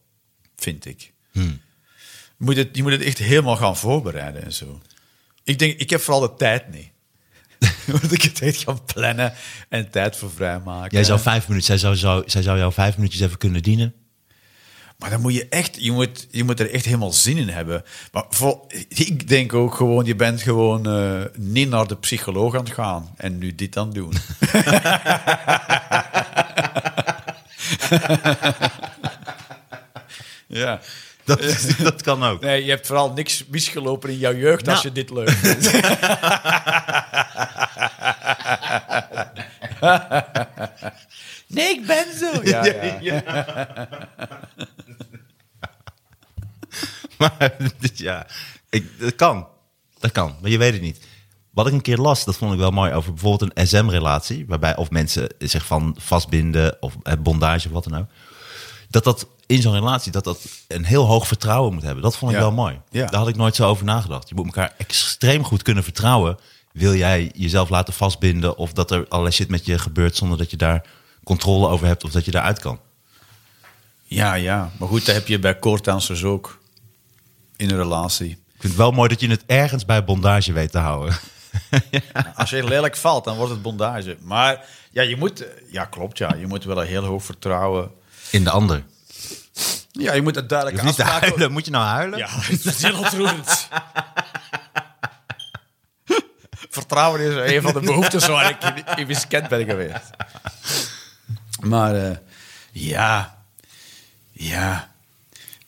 Speaker 3: vind ik.
Speaker 2: Hmm.
Speaker 3: Je, moet het, je moet het echt helemaal gaan voorbereiden en zo. Ik denk, ik heb vooral de tijd niet. Moet ik het echt gaan plannen en tijd voor vrijmaken.
Speaker 2: Jij zou vijf minuten. Zij zou, zou, zij zou jou vijf minuutjes even kunnen dienen.
Speaker 3: Maar dan moet je echt, je moet, je moet er echt helemaal zin in hebben. Maar voor, ik denk ook gewoon, je bent gewoon eh, niet naar de psycholoog aan het gaan en nu dit aan het doen. ja.
Speaker 2: Dat, dat kan ook.
Speaker 3: Nee, je hebt vooral niks misgelopen in jouw jeugd als
Speaker 2: Nou.
Speaker 3: je dit leuk vindt. nee, ik ben zo. Ja, ja.
Speaker 2: Maar dus ja, ik, dat kan. Dat kan, maar je weet het niet. Wat ik een keer las, dat vond ik wel mooi, over bijvoorbeeld een SM-relatie, waarbij of mensen zich van vastbinden of eh, bondage of wat dan ook. Dat dat in zo'n relatie, dat dat een heel hoog vertrouwen moet hebben. Dat vond ik
Speaker 3: Ja.
Speaker 2: wel mooi.
Speaker 3: Ja.
Speaker 2: Daar had ik nooit zo over nagedacht. Je moet elkaar extreem goed kunnen vertrouwen. Wil jij jezelf laten vastbinden of dat er allerlei shit met je gebeurt zonder dat je daar controle over hebt of dat je daaruit kan?
Speaker 3: Ja, ja. Maar goed, dat heb je bij koortdansers ook. In een relatie.
Speaker 2: Ik vind het wel mooi dat je het ergens bij bondage weet te houden.
Speaker 3: Als je lelijk valt, dan wordt het bondage. Maar ja, je moet... Ja, klopt, ja. Je moet wel een heel hoog vertrouwen...
Speaker 2: In de ander.
Speaker 3: Ja, je moet een
Speaker 2: Je
Speaker 3: duidelijke
Speaker 2: hoeft niet te
Speaker 3: afspraak...
Speaker 2: huilen. Moet je nou huilen?
Speaker 3: Ja, dat is heel ontroerend. Vertrouwen is een van de behoeftes waar ik in, in Wiskent ben geweest. Maar eh, ja, ja,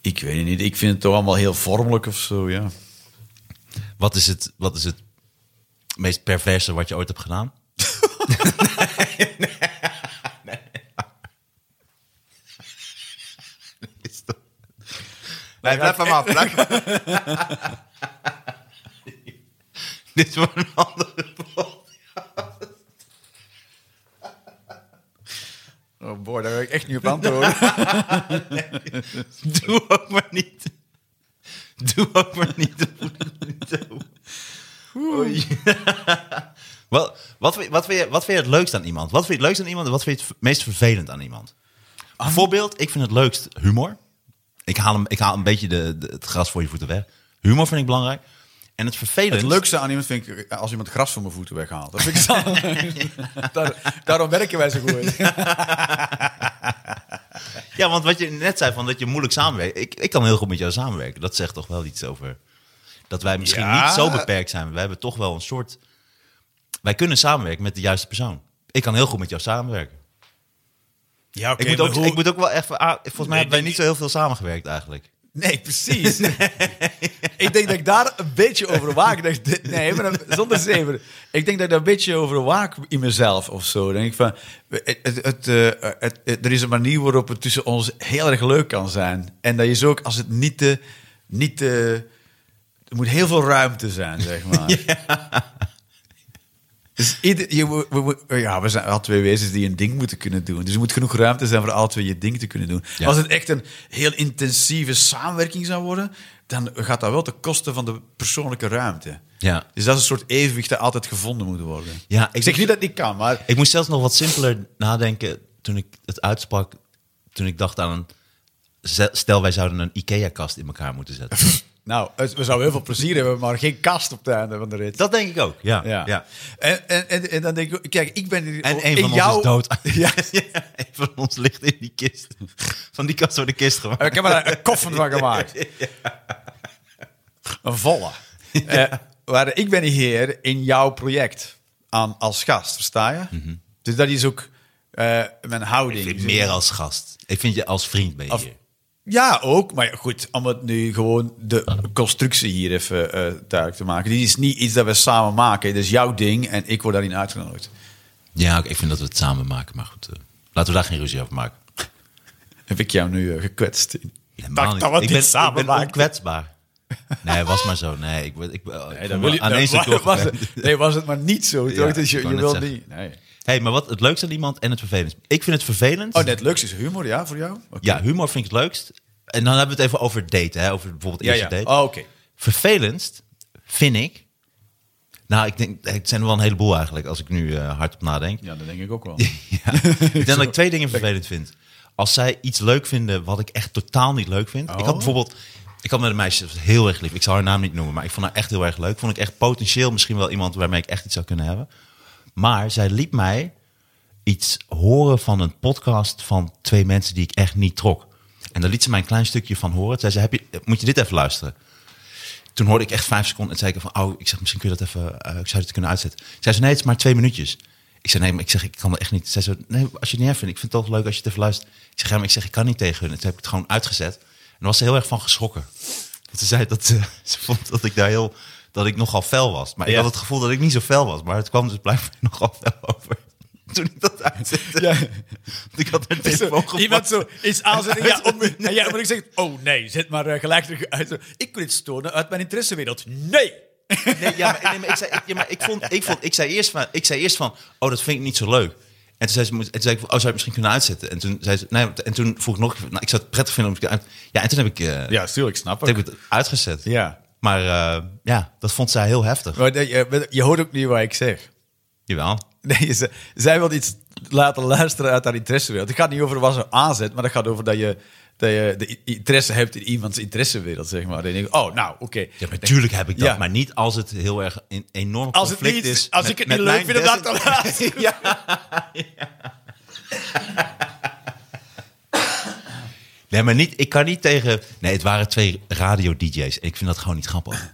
Speaker 3: ik weet het niet. Ik vind het toch allemaal heel vormelijk of zo, ja.
Speaker 2: Wat, is het, wat is het meest perverse wat je ooit hebt gedaan? nee, nee, nee. nee. blijf hem af. blijf- Dit is voor een andere podcast.
Speaker 3: Oh boy, daar wil ik echt niet op antwoorden.
Speaker 2: Doe ook maar niet. Doe ook maar niet. Dat moet ik niet doen. Oei. Wel, wat, vind- wat, vind je, wat vind je het leukst aan iemand? Wat vind je het leukst aan iemand en wat vind je het meest vervelend aan iemand? Bijvoorbeeld, ik vind het leukst humor. Ik haal, hem, ik haal een beetje de, de- het gras voor je voeten weg. Humor vind ik belangrijk. En het vervelend...
Speaker 3: het leukste aan iemand vind ik als iemand gras van mijn voeten weghaalt. Dat vind ik zo. Daar- daarom werken wij zo goed.
Speaker 2: Ja, want wat je net zei, van dat je moeilijk samenwerkt. Ik, ik kan heel goed met jou samenwerken. Dat zegt toch wel iets over... Dat wij misschien
Speaker 3: Ja.
Speaker 2: niet zo beperkt zijn. Wij hebben toch wel een soort... Wij kunnen samenwerken met de juiste persoon. Ik kan heel goed met jou samenwerken.
Speaker 3: Ja, oké.
Speaker 2: Ik, moet, ook,
Speaker 3: maar hoe-
Speaker 2: ik moet ook wel even... ah, volgens mij
Speaker 3: Nee,
Speaker 2: hebben wij
Speaker 3: nee,
Speaker 2: niet zo heel veel samengewerkt eigenlijk.
Speaker 3: Nee, precies. ik denk dat ik daar een beetje over waak. Dat ik dit- nee, maar dan- zonder zeven. Ik denk dat ik daar een beetje over waak in mezelf of zo. Dan denk ik van, het, het, het, eh, het- het- er is een manier waarop het tussen ons heel erg leuk kan zijn. En dat je zo ook, als het niet te... Niet te er moet heel veel ruimte zijn, zeg maar. Dus ieder, je, moet- we, we- ja, we zijn al twee wezens die een ding moeten kunnen doen. Dus er moet genoeg ruimte zijn voor al twee je ding te kunnen doen.
Speaker 2: Ja.
Speaker 3: Als het echt een heel intensieve samenwerking zou worden, dan gaat dat wel ten koste van de persoonlijke ruimte.
Speaker 2: Ja.
Speaker 3: Dus dat is een soort evenwicht dat altijd gevonden moet worden.
Speaker 2: Ja, ik
Speaker 3: ik zeg
Speaker 2: moet-
Speaker 3: niet dat het niet kan, maar
Speaker 2: Ik moest zelfs nog wat simpeler nadenken toen ik het uitsprak. Toen ik dacht aan een... Stel, wij zouden een IKEA-kast in elkaar moeten zetten.
Speaker 3: nou, het- we zouden heel veel plezier hebben, maar geen kast op het einde van de rit.
Speaker 2: Dat denk ik ook, ja.
Speaker 3: ja.
Speaker 2: ja.
Speaker 3: En, en, en, en dan denk ik, kijk, ik ben hier-
Speaker 2: En
Speaker 3: in
Speaker 2: een van ons
Speaker 3: jou-
Speaker 2: is dood.
Speaker 3: Ja.
Speaker 2: een van ons ligt in die kist. Van die kast wordt de kist gemaakt.
Speaker 3: Ik heb er een koffer van gemaakt. Een volle. Eh, waar ik ben hier in jouw project aan als gast, versta je? Dus dat is ook eh, mijn houding.
Speaker 2: Mhm. Ik vind meer als gast. Ik vind je als vriend ben je
Speaker 3: Of-
Speaker 2: hier.
Speaker 3: Ja, ook. Maar goed, om het nu gewoon de constructie hier even eh, duidelijk te maken. Dit is niet iets dat we samen maken. Dit is jouw ding en ik word daarin uitgenodigd.
Speaker 2: Ja, ik- ik vind dat we het samen maken. Maar goed, eh, laten we daar geen ruzie over maken.
Speaker 3: Heb ik jou nu eh, gekwetst? Ik
Speaker 2: Helemaal
Speaker 3: dacht
Speaker 2: niet.
Speaker 3: dat we het
Speaker 2: ik
Speaker 3: niet
Speaker 2: ben,
Speaker 3: samen
Speaker 2: Ik ben
Speaker 3: maken.
Speaker 2: onkwetsbaar. Nee, was maar zo. Nee, ik, ben- ik, ben- ik
Speaker 3: Nee,
Speaker 2: voel
Speaker 3: dan
Speaker 2: me
Speaker 3: wil je,
Speaker 2: aan
Speaker 3: dan
Speaker 2: één stuk
Speaker 3: was, was
Speaker 2: doorgebrand.
Speaker 3: het, nee, was het maar niet zo.
Speaker 2: Ja,
Speaker 3: toch? Dus je
Speaker 2: ik wou
Speaker 3: je
Speaker 2: net
Speaker 3: wil
Speaker 2: zeggen.
Speaker 3: niet. Nee.
Speaker 2: hey, maar wat het leukste aan iemand en het vervelendst. Ik vind het vervelend.
Speaker 3: Oh, net leuk is humor, ja, voor jou? Oké.
Speaker 2: Ja, humor vind ik het leukst. En dan hebben we het even over daten. Hè? Over bijvoorbeeld
Speaker 3: Ja,
Speaker 2: eerste
Speaker 3: ja.
Speaker 2: date.
Speaker 3: Oh, oké.
Speaker 2: vervelendst vind ik. Nou, ik denk, het zijn er wel een heleboel eigenlijk, als ik nu eh, hardop nadenk.
Speaker 3: Ja, dat denk ik ook wel.
Speaker 2: Ik denk dat ik twee dingen vervelend vind. Als zij iets leuk vinden wat ik echt totaal niet leuk vind. Ik had
Speaker 3: Oh.
Speaker 2: bijvoorbeeld, ik had met een meisje dat was heel erg lief. Ik zal haar naam niet noemen, maar ik vond haar echt heel erg leuk. Vond ik echt potentieel misschien wel iemand waarmee ik echt iets zou kunnen hebben. Maar zij liet mij iets horen van een podcast van twee mensen die ik echt niet trok. En daar liet ze mij een klein stukje van horen. Zij zei, heb je, moet je dit even luisteren? Toen hoorde ik echt vijf seconden en zei ik van... oh, ik zeg, misschien kun je dat even... eh, ik zou dit kunnen uitzetten. Zij zei, nee, het is maar twee minuutjes. Ik zei, nee, maar ik zeg, ik kan dat echt niet. Zij zei, nee, als je het niet erg vindt, ik vind het toch leuk als je het even luistert. Ik zeg, ja, maar ik zeg, ik kan niet tegen hun. En toen heb ik het gewoon uitgezet. En daar was ze heel erg van geschrokken. Want ze zei dat ze, ze vond dat ik daar heel... dat ik nogal fel was. Maar ik
Speaker 3: Ja.
Speaker 2: had het gevoel dat ik niet zo fel was. Maar het kwam dus blijkbaar nogal fel over. Toen ik dat uitzette.
Speaker 3: Ja.
Speaker 2: Want Ik had haar telefoon
Speaker 3: Zo,
Speaker 2: gepakt.
Speaker 3: iemand zo iets aanzetten. Ja, om, en jij moet ik zeggen, oh nee, zet maar eh, gelijk terug uit. Zo, Ik wil dit storen uit mijn interessewereld. Nee!
Speaker 2: Nee, ja, maar, nee, maar ik zei, ik, ja, maar ik, vond, ik, vond, ik, zei eerst van, ik zei eerst van, oh, dat vind ik niet zo leuk. En toen zei ze, moet- en toen zei ik, oh, zou je het misschien kunnen uitzetten? En toen, zei ze, nee, want- en toen vroeg ik nog, een keer, nou, ik zou het prettig vinden om het uit... Ja, en toen heb ik, eh,
Speaker 3: Ja, tuurlijk, snap
Speaker 2: toen heb ik het uitgezet.
Speaker 3: Ja.
Speaker 2: Maar eh, ja, dat vond zij heel heftig.
Speaker 3: Maar dat- je, je hoort ook niet wat ik zeg.
Speaker 2: Jawel.
Speaker 3: Nee, ze, zij wil iets laten luisteren uit haar interessewereld. Het gaat niet over wat ze aanzet, maar het gaat over dat je, dat je de i- interesse hebt in iemands interessewereld, zeg maar. En je denkt, oh, nou, oké.
Speaker 2: Ja, natuurlijk heb ik dat,
Speaker 3: Ja.
Speaker 2: maar niet als het heel erg een enorm
Speaker 3: Als, het
Speaker 2: conflict
Speaker 3: niet,
Speaker 2: is.
Speaker 3: als
Speaker 2: met-
Speaker 3: ik het
Speaker 2: met
Speaker 3: niet
Speaker 2: mijn
Speaker 3: leuk vind, dan
Speaker 2: desin-
Speaker 3: laat dat ja.
Speaker 2: Nee, maar niet, ik kan niet tegen... Nee, het waren twee radio-dj's en ik vind dat gewoon niet
Speaker 3: Nou,
Speaker 2: grappig.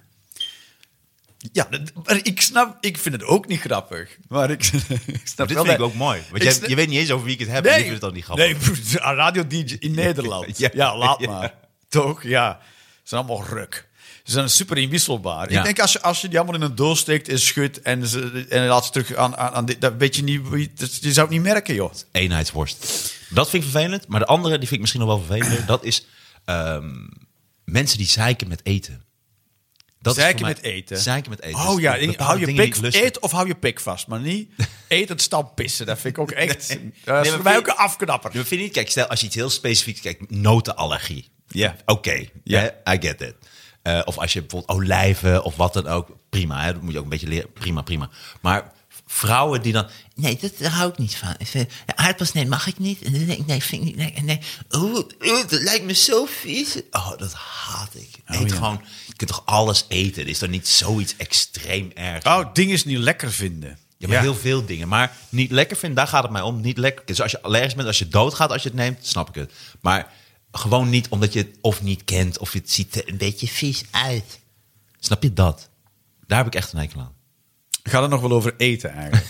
Speaker 3: Ja, dat- maar ik snap, ik vind het ook niet grappig. Maar ik, ik snap
Speaker 2: Maar dit
Speaker 3: wel
Speaker 2: vind ik
Speaker 3: dat-
Speaker 2: ook mooi, want
Speaker 3: ik
Speaker 2: jij-
Speaker 3: sna-
Speaker 2: je weet niet eens over wie ik het heb en ik vind het dan niet grappig.
Speaker 3: Nee, broer, een radio DJ in Nederland. ja,
Speaker 2: Ja.
Speaker 3: laat
Speaker 2: Ja.
Speaker 3: maar. Toch? Ja. Het is allemaal ruk. Ze zijn super inwisselbaar.
Speaker 2: Ja.
Speaker 3: Ik denk als je, als je die allemaal in een doos steekt en schudt en, ze, en laat ze terug aan, aan, aan dit, dat weet je niet, wie- dat- je zou het niet merken, joh.
Speaker 2: Eenheidsworst. Dat vind ik vervelend. Maar de andere, die vind ik misschien nog wel vervelender. Dat is ehm, mensen die zeiken met eten. Dat is
Speaker 3: Zeiken
Speaker 2: voor
Speaker 3: met eten?
Speaker 2: Zeiken met eten.
Speaker 3: Oh
Speaker 2: Dus
Speaker 3: ja,
Speaker 2: bepaalde
Speaker 3: hou je
Speaker 2: dingen
Speaker 3: pik,
Speaker 2: niet lusten.
Speaker 3: eet of hou je pik vast, maar niet eet het stam pissen. Dat vind ik ook echt,
Speaker 2: Nee.
Speaker 3: dat is
Speaker 2: Nee,
Speaker 3: voor
Speaker 2: maar
Speaker 3: mij
Speaker 2: vind
Speaker 3: ook
Speaker 2: je-
Speaker 3: een afknapper.
Speaker 2: Je vindt niet, kijk, stel als je iets heel specifieks kijkt, notenallergie.
Speaker 3: Ja.
Speaker 2: Oké, hè, I get that. Eh, of als je bijvoorbeeld olijven of wat dan ook, prima, hè, dat moet je ook een beetje leren. Prima, prima. Maar vrouwen die dan, nee, dat daar hou ik niet van. Ik vind- ja, Aardappels, nee, mag ik niet. Nee, nee, nee, vind ik niet. Nee, nee. Oeh, oeh, dat lijkt me zo vies. Oh, dat haat ik. Eet
Speaker 3: Oh, ja.
Speaker 2: gewoon, je kunt toch alles eten? Er is toch niet zoiets extreem erg?
Speaker 3: Oh, dingen is niet lekker vinden.
Speaker 2: Ja, maar heel veel dingen. Maar niet lekker vinden, daar gaat het mij om. Niet lekker. Dus als je allergisch bent, als je doodgaat als je het neemt, snap ik het. Maar gewoon niet omdat je het of niet kent, of je het ziet er een beetje vies uit. Snap je dat? Daar heb ik echt een hekel aan.
Speaker 3: Gaat het nog wel over eten eigenlijk?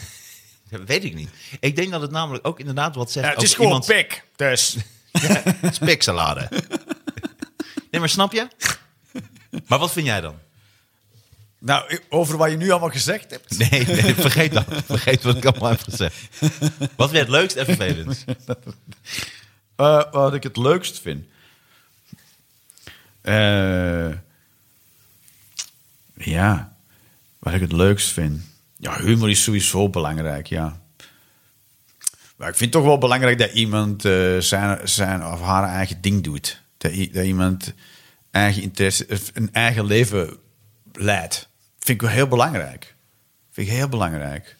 Speaker 2: Dat weet ik niet. Ik denk dat het namelijk ook inderdaad wat zegt
Speaker 3: Ja, het
Speaker 2: over
Speaker 3: is gewoon
Speaker 2: iemand...
Speaker 3: pik, dus.
Speaker 2: Speksalade. nee, maar snap je? Maar wat vind jij dan?
Speaker 3: Nou, i- over wat je nu allemaal gezegd hebt.
Speaker 2: Nee, nee vergeet dat. Vergeet wat ik allemaal heb gezegd. Wat vind jij het leukst en vervelend?
Speaker 3: Eh, wat ik het leukst vind. Eh, ja, wat ik het leukst vind. Ja, humor is sowieso belangrijk, ja. Maar ik vind het toch wel belangrijk dat iemand eh, zijn, zijn of haar eigen ding doet. Dat, i- dat iemand eigen interesse, of een eigen leven leidt. Vind ik wel heel belangrijk. Vind ik heel belangrijk.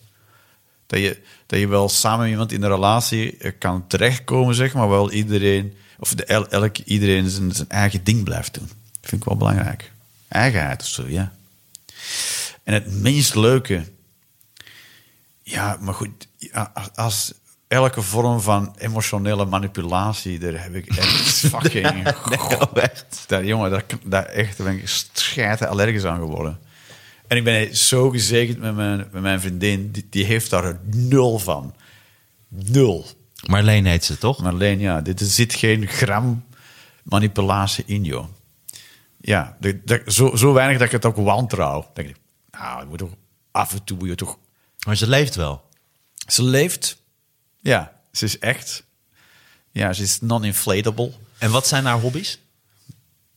Speaker 3: Dat je, dat je wel samen met iemand in een relatie eh, kan terechtkomen, zeg maar. Wel iedereen, of de, el- elk, iedereen zijn, zijn eigen ding blijft doen. Vind ik wel belangrijk. Eigenheid of zo, ja. En het minst leuke. Ja, maar goed. ja, als- als elke vorm van emotionele manipulatie, daar heb ik echt fucking.
Speaker 2: Oh, echt?
Speaker 3: Daar, jongen, daar, daar echt daar ben ik schijten allergisch aan geworden. En ik ben zo gezegend met mijn, met mijn vriendin. Die, die heeft daar nul van. Nul.
Speaker 2: Marleen heet ze, toch?
Speaker 3: Maar alleen, ja, dit, er zit geen gram manipulatie in, joh. Ja, de- de- zo, zo weinig dat ik het ook wantrouw. Dan denk ik, nou, je moet toch, af en toe moet je toch...
Speaker 2: Maar ze leeft wel.
Speaker 3: Ze leeft. Ja, ze is echt. Ja, ze is non-inflatable.
Speaker 2: En wat zijn haar hobby's?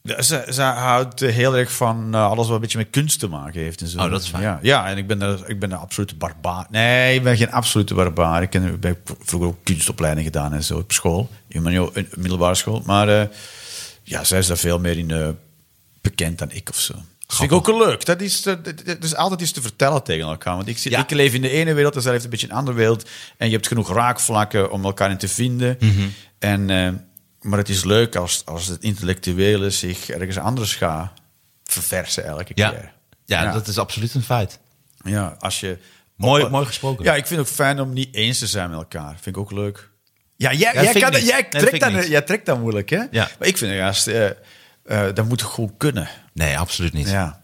Speaker 3: Ja, ze, ze houdt eh, heel erg van eh, alles wat een beetje met kunst te maken heeft. En zo.
Speaker 2: Oh, dat is fijn.
Speaker 3: Ja, ja en ik ben, daar- ik ben een absolute barbaar. Nee, ik ben geen absolute barbaar. Ik, ken- ik heb vroeger ook kunstopleiding gedaan en zo op school. In mijn in middelbare school. Maar eh, ja, zij is daar veel meer in eh, bekend dan ik of zo. Dat vind ik ook wel leuk. Dat is, eh, dat- dat is altijd iets te vertellen tegen elkaar. Want ik, zit,
Speaker 2: Ja.
Speaker 3: ik leef in de ene wereld en zij leeft een beetje in een andere wereld. En je hebt genoeg raakvlakken om elkaar in te vinden. En, eh, maar het is leuk als, als het intellectuele zich ergens anders gaat verversen elke
Speaker 2: Ja.
Speaker 3: keer.
Speaker 2: Ja, dat is absoluut een feit.
Speaker 3: Ja, als je...
Speaker 2: Mooi-
Speaker 3: op-
Speaker 2: mooi gesproken.
Speaker 3: Ja, ik vind het ook fijn om niet eens te zijn met elkaar. Vind ik ook leuk. Ja, jij,
Speaker 2: dat
Speaker 3: jij,
Speaker 2: vind ik
Speaker 3: kan,
Speaker 2: niet.
Speaker 3: jij,
Speaker 2: Nee, dat
Speaker 3: trekt
Speaker 2: vind ik
Speaker 3: dat,
Speaker 2: niet.
Speaker 3: jij trekt dat moeilijk, hè?
Speaker 2: Ja.
Speaker 3: Maar ik vind het juist... eh, eh, dat moet gewoon kunnen.
Speaker 2: Nee, absoluut niet.
Speaker 3: Ja.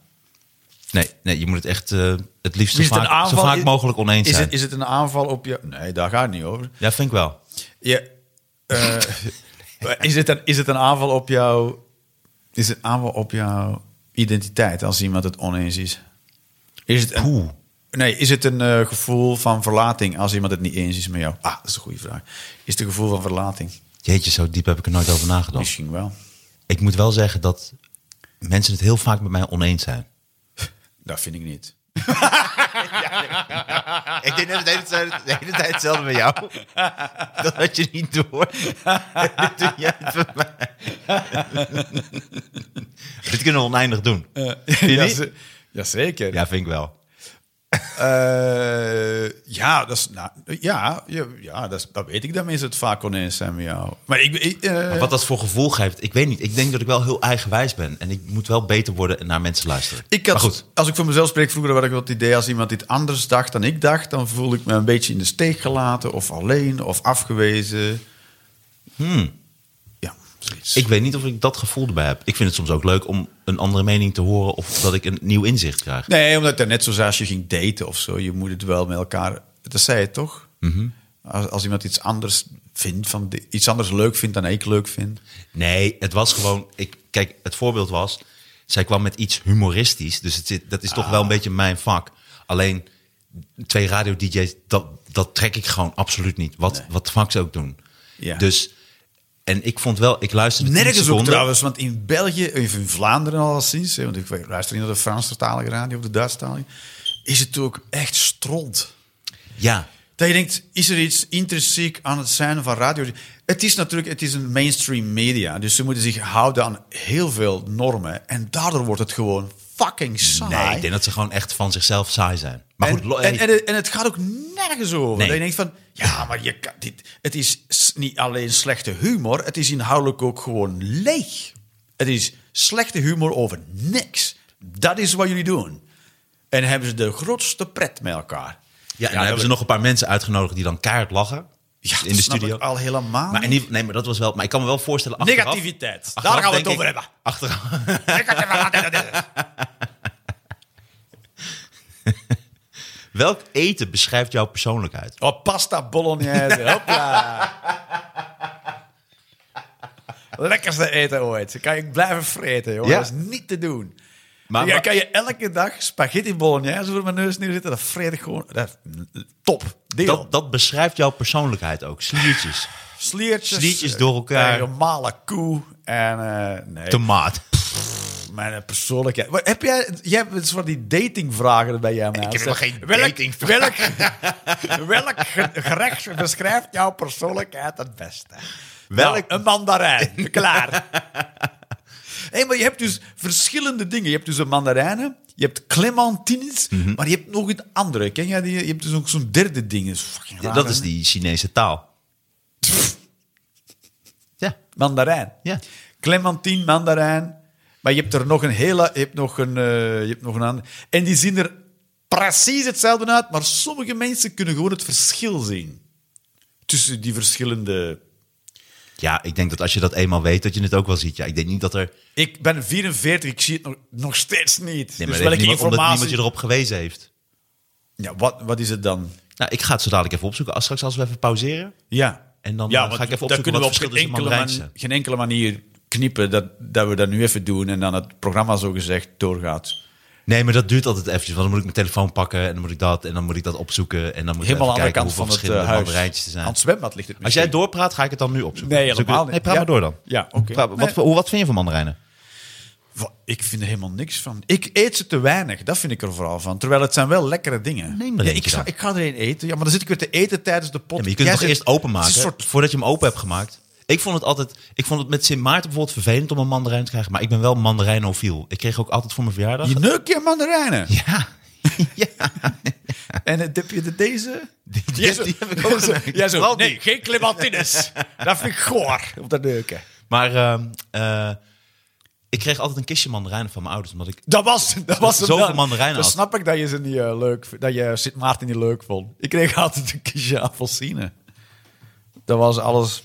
Speaker 2: Nee, nee, je moet het echt eh, het liefst zo
Speaker 3: Is het een
Speaker 2: vaak, zo
Speaker 3: aanval-
Speaker 2: vaak mogelijk oneens
Speaker 3: is
Speaker 2: zijn.
Speaker 3: Het, is het een aanval op je... Nee, daar gaat het niet over.
Speaker 2: Ja, vind ik wel.
Speaker 3: Je, eh, is, het een, is het een aanval op jouw... Is het een aanval op jouw identiteit als iemand het oneens is? Is het een,
Speaker 2: Poeh.
Speaker 3: Nee, is het een eh, gevoel van verlating als iemand het niet eens is met jou? Ah, dat is een goede vraag. Is het een gevoel van verlating?
Speaker 2: Oh. Jeetje, zo diep heb ik er nooit over nagedacht.
Speaker 3: Misschien wel.
Speaker 2: Ik moet wel zeggen dat mensen het heel vaak met mij oneens zijn.
Speaker 3: Dat vind ik niet.
Speaker 2: Ik denk net de hele tijd, de hele tijd hetzelfde met jou. Dat had je niet door. Dit doe jij het met mij. Dit kunnen we oneindig doen.
Speaker 3: ja,
Speaker 2: Eh, niet?
Speaker 3: ze- Jazeker.
Speaker 2: Ja, vind ik wel.
Speaker 3: Eh, ja, dat is, nou, ja, ja, ja dat, is, dat weet ik. Dat mensen het vaak oneens zijn met jou. Maar ik... ik eh,
Speaker 2: Maar wat dat voor gevoel geeft, ik weet niet. Ik denk dat ik wel heel eigenwijs ben. En ik moet wel beter worden en naar mensen luisteren.
Speaker 3: Ik had,
Speaker 2: maar goed,
Speaker 3: Als ik voor mezelf spreek, vroeger had ik wel het idee... als iemand dit anders dacht dan ik dacht... dan voel ik me een beetje in de steek gelaten... of alleen, of afgewezen. Ja, zoiets.
Speaker 2: Hmm. ik weet niet of ik dat gevoel erbij heb. Ik vind het soms ook leuk om een andere mening te horen... of dat ik een nieuw inzicht krijg.
Speaker 3: Nee, omdat ik net zo zei, als je ging daten of zo... je moet het wel met elkaar... Dat zei je toch?
Speaker 2: Mhm.
Speaker 3: als, als iemand iets anders vindt, van, di- iets anders leuk vindt dan ik leuk vind...
Speaker 2: Nee, het was gewoon... Ik, kijk, het voorbeeld was... Zij kwam met iets humoristisch. Dus het zit, dat is
Speaker 3: Ah.
Speaker 2: toch wel een beetje mijn vak. Alleen twee radio-dj's, dat, dat trek ik gewoon absoluut niet. Wat, wat vak ze ook doen.
Speaker 3: Ja.
Speaker 2: Dus, en ik vond wel, ik luisterde tien
Speaker 3: Nergens ook
Speaker 2: seconden.
Speaker 3: trouwens, want in België, of in Vlaanderen alleszins, hè, want ik luister niet naar de Franstalige radio of de Duitsstalige, is het ook echt stront.
Speaker 2: Ja,
Speaker 3: Dat je denkt, is er iets intrinsiek aan het zijn van radio? Het is natuurlijk het is een mainstream media, dus ze moeten zich houden aan heel veel normen. En daardoor wordt het gewoon fucking saai.
Speaker 2: nee, ik denk dat ze gewoon echt van zichzelf saai zijn. Maar goed,
Speaker 3: En,
Speaker 2: lo-
Speaker 3: en,
Speaker 2: hey.
Speaker 3: en, en het gaat ook nergens over.
Speaker 2: Nee.
Speaker 3: Dat je denkt van, ja, maar je kan, dit, het is s- niet alleen slechte humor, het is inhoudelijk ook gewoon leeg. Het is slechte humor over niks. Dat is wat jullie doen. En hebben ze de grootste pret met elkaar.
Speaker 2: Ja, en dan nou hebben ze
Speaker 3: dat-
Speaker 2: nog een paar mensen uitgenodigd die dan kaart lachen.
Speaker 3: Ja, dat
Speaker 2: in de
Speaker 3: snap
Speaker 2: studio.
Speaker 3: ik al helemaal
Speaker 2: Maar in
Speaker 3: niet.
Speaker 2: ieder- nee, maar dat was wel. Maar ik kan me wel voorstellen. Achteraf,
Speaker 3: Negativiteit. Daar
Speaker 2: achteraf
Speaker 3: gaan we het
Speaker 2: denk
Speaker 3: over
Speaker 2: ik-
Speaker 3: hebben.
Speaker 2: Achteraf, welk eten beschrijft jouw persoonlijkheid?
Speaker 3: Oh, pasta bolognese. Hopla. Lekkerste eten ooit. Kan ik blijven vreten, jongen.
Speaker 2: Ja.
Speaker 3: Dat is niet te doen.
Speaker 2: Maar,
Speaker 3: ja,
Speaker 2: maar-
Speaker 3: kan je elke dag spaghetti bolognese voor mijn neus neerzetten? Dat vreet ik gewoon. Dat, top. Deal.
Speaker 2: dat, dat beschrijft jouw persoonlijkheid ook. Sliertjes,
Speaker 3: sliertjes.
Speaker 2: sliertjes door elkaar.
Speaker 3: eh, gemalen koe. En eh, nee,
Speaker 2: tomaat.
Speaker 3: mijn persoonlijkheid. Wat, heb jij, jij hebt een soort die datingvragen bij jou, Ik
Speaker 2: heb helemaal geen
Speaker 3: Welk, welk ge- gerecht beschrijft jouw persoonlijkheid het beste?
Speaker 2: Welk-
Speaker 3: Nou, een mandarijn. Klaar. Hé, maar je hebt dus verschillende dingen. Je hebt dus een mandarijnen, je hebt clementines,
Speaker 2: Mhm.
Speaker 3: maar je hebt nog iets andere. Ken jij die? Je hebt dus ook zo'n derde ding. Dat is, fucking raar,
Speaker 2: Dat is
Speaker 3: hè?
Speaker 2: die Chinese taal. Ja,
Speaker 3: Mandarijn.
Speaker 2: Ja.
Speaker 3: Clementine, mandarijn. Maar je hebt er nog een hele... Je hebt nog een, eh, je hebt nog een andere. En die zien er precies hetzelfde uit, maar sommige mensen kunnen gewoon het verschil zien. Tussen die verschillende...
Speaker 2: ja, ik denk dat als je dat eenmaal weet, dat je het ook wel ziet. Ja, ik denk niet dat er.
Speaker 3: Ik ben 44, ik zie het nog, nog steeds niet.
Speaker 2: Nee, maar
Speaker 3: dus
Speaker 2: dat
Speaker 3: welke
Speaker 2: heeft niemand- omdat
Speaker 3: informatie...
Speaker 2: niemand je erop gewezen heeft.
Speaker 3: Ja, wat, wat is het dan?
Speaker 2: Nou, ik ga het zo dadelijk even opzoeken. Als straks als we even pauzeren.
Speaker 3: Ja.
Speaker 2: En dan,
Speaker 3: ja,
Speaker 2: eh, ga ik even
Speaker 3: dat
Speaker 2: opzoeken
Speaker 3: kunnen we
Speaker 2: wat
Speaker 3: op geen
Speaker 2: verschil tussen
Speaker 3: enkele,
Speaker 2: mandarijnse.
Speaker 3: man- geen enkele manier knippen dat, dat we dat nu even doen en dan het programma zogezegd doorgaat.
Speaker 2: Nee, maar dat duurt altijd eventjes. Want dan moet ik mijn telefoon pakken en dan moet ik dat en dan moet ik dat opzoeken. En dan moet ik
Speaker 3: Helemaal aan de
Speaker 2: even
Speaker 3: andere
Speaker 2: kijken
Speaker 3: kant
Speaker 2: hoeveel
Speaker 3: van het
Speaker 2: verschillende
Speaker 3: eh, huis.
Speaker 2: mandarijntjes er zijn.
Speaker 3: Aan het zwembad ligt het
Speaker 2: Als jij
Speaker 3: misschien.
Speaker 2: doorpraat, ga ik het dan nu opzoeken.
Speaker 3: Nee, helemaal
Speaker 2: Zoek-
Speaker 3: niet.
Speaker 2: Nee, praat
Speaker 3: Ja.
Speaker 2: maar door dan.
Speaker 3: Ja, oké.
Speaker 2: Praat- Wat,
Speaker 3: Nee.
Speaker 2: voor- hoe- wat vind je van mandarijnen?
Speaker 3: Wa- Ik vind er helemaal niks van. Ik eet ze te weinig, dat vind ik er vooral van. Terwijl het zijn wel lekkere dingen.
Speaker 2: Neem er
Speaker 3: ja,
Speaker 2: eentje
Speaker 3: ik, ga,
Speaker 2: dan.
Speaker 3: ik ga er één eten. Ja, maar dan zit ik weer te eten tijdens de
Speaker 2: Ja,
Speaker 3: pot.
Speaker 2: maar je kunt het toch eerst openmaken
Speaker 3: Het is een soort
Speaker 2: voordat je hem open hebt gemaakt. Ik vond het altijd, ik vond het met Sint Maarten bijvoorbeeld vervelend om een mandarijn te krijgen. Maar ik ben wel mandarijnofiel. Ik kreeg ook altijd voor mijn verjaardag.
Speaker 3: je neukt je mandarijnen.
Speaker 2: Ja. ja.
Speaker 3: En eh, heb je de, deze?
Speaker 2: die-
Speaker 3: Jij zo-
Speaker 2: die heb ik ook
Speaker 3: zo-
Speaker 2: geneukt.
Speaker 3: jij zo,
Speaker 2: Vooral
Speaker 3: nee,
Speaker 2: die.
Speaker 3: geen clementines. dat vind ik goor, op dat neuken.
Speaker 2: Maar ehm, eh, ik kreeg altijd een kistje mandarijnen van mijn ouders. Omdat ik
Speaker 3: Dat was, dat was hem
Speaker 2: Zoveel
Speaker 3: dan.
Speaker 2: mandarijnen
Speaker 3: Dan
Speaker 2: had.
Speaker 3: snap ik dat je ze niet eh, leuk v- dat je Sint Maarten niet leuk vond. Ik kreeg altijd een kistje appelsine. Dat was alles.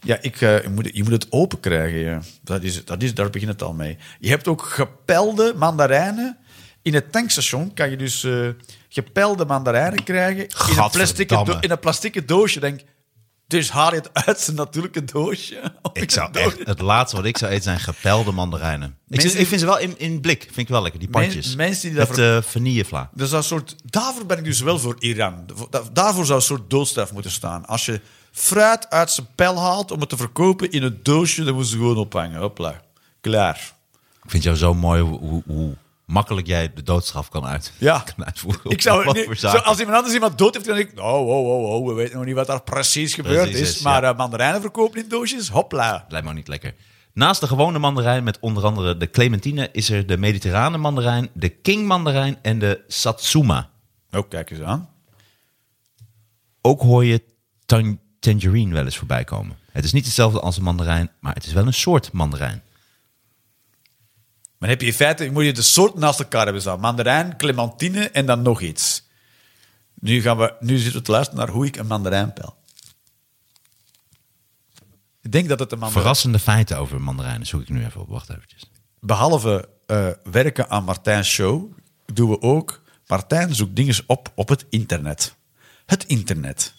Speaker 3: Ja, ik, eh, je, moet, je moet het open krijgen. Ja. Dat is, dat is, daar begint het al mee. Je hebt ook gepelde mandarijnen. In het tankstation kan je dus eh, gepelde mandarijnen krijgen. In een, plastic
Speaker 2: Gadverdamme.
Speaker 3: do- in een plastic doosje. Denk, dus haal je het uit zijn natuurlijke doosje.
Speaker 2: Ik zou echt, het laatste wat ik zou eten zijn gepelde mandarijnen. Ik,
Speaker 3: Mensen-
Speaker 2: zit- ik vind ze wel in, in blik, vind ik wel lekker, die
Speaker 3: Men-
Speaker 2: pandjes.
Speaker 3: mensen die
Speaker 2: Met
Speaker 3: daarvoor-
Speaker 2: eh, vanillevla.
Speaker 3: Dus dat soort, daarvoor ben ik dus wel voor Iran. Da- Daarvoor zou een soort doodstraf moeten staan. Als je fruit uit zijn pijl haalt om het te verkopen in een doosje, dan moet ze gewoon ophangen. Hopla. Klaar.
Speaker 2: Ik vind jou zo mooi hoe, hoe, hoe makkelijk jij de doodstraf kan, uit,
Speaker 3: Ja.
Speaker 2: kan uitvoeren.
Speaker 3: Ik zou
Speaker 2: Wat
Speaker 3: nu,
Speaker 2: voor
Speaker 3: zo,
Speaker 2: zaken.
Speaker 3: als iemand anders iemand dood heeft, dan denk ik... Oh, oh, oh, oh, we weten nog niet wat daar precies gebeurd
Speaker 2: Precies
Speaker 3: is.
Speaker 2: is,
Speaker 3: maar
Speaker 2: ja.
Speaker 3: eh, mandarijnen verkopen in doosjes, hopla.
Speaker 2: Lijkt me ook niet lekker. Naast de gewone mandarijn met onder andere de clementine... is er de mediterrane mandarijn, de king mandarijn en de satsuma.
Speaker 3: Oh, kijk eens aan.
Speaker 2: Ook hoor je tan- tangerine wel eens voorbij komen. Het is niet hetzelfde als een mandarijn, maar het is wel een soort mandarijn.
Speaker 3: Maar heb je in feite, moet je de soorten naast elkaar hebben staan. Mandarijn, clementine en dan nog iets. Nu, gaan we, nu zitten we te luisteren naar hoe ik een mandarijn pel. Ik denk dat het een mandarijn...
Speaker 2: Verrassende feiten over mandarijnen zoek ik nu even op. Wacht eventjes.
Speaker 3: Behalve eh, werken aan Martijn's show, doen we ook... Martijn zoekt dingen op op het internet. Het internet.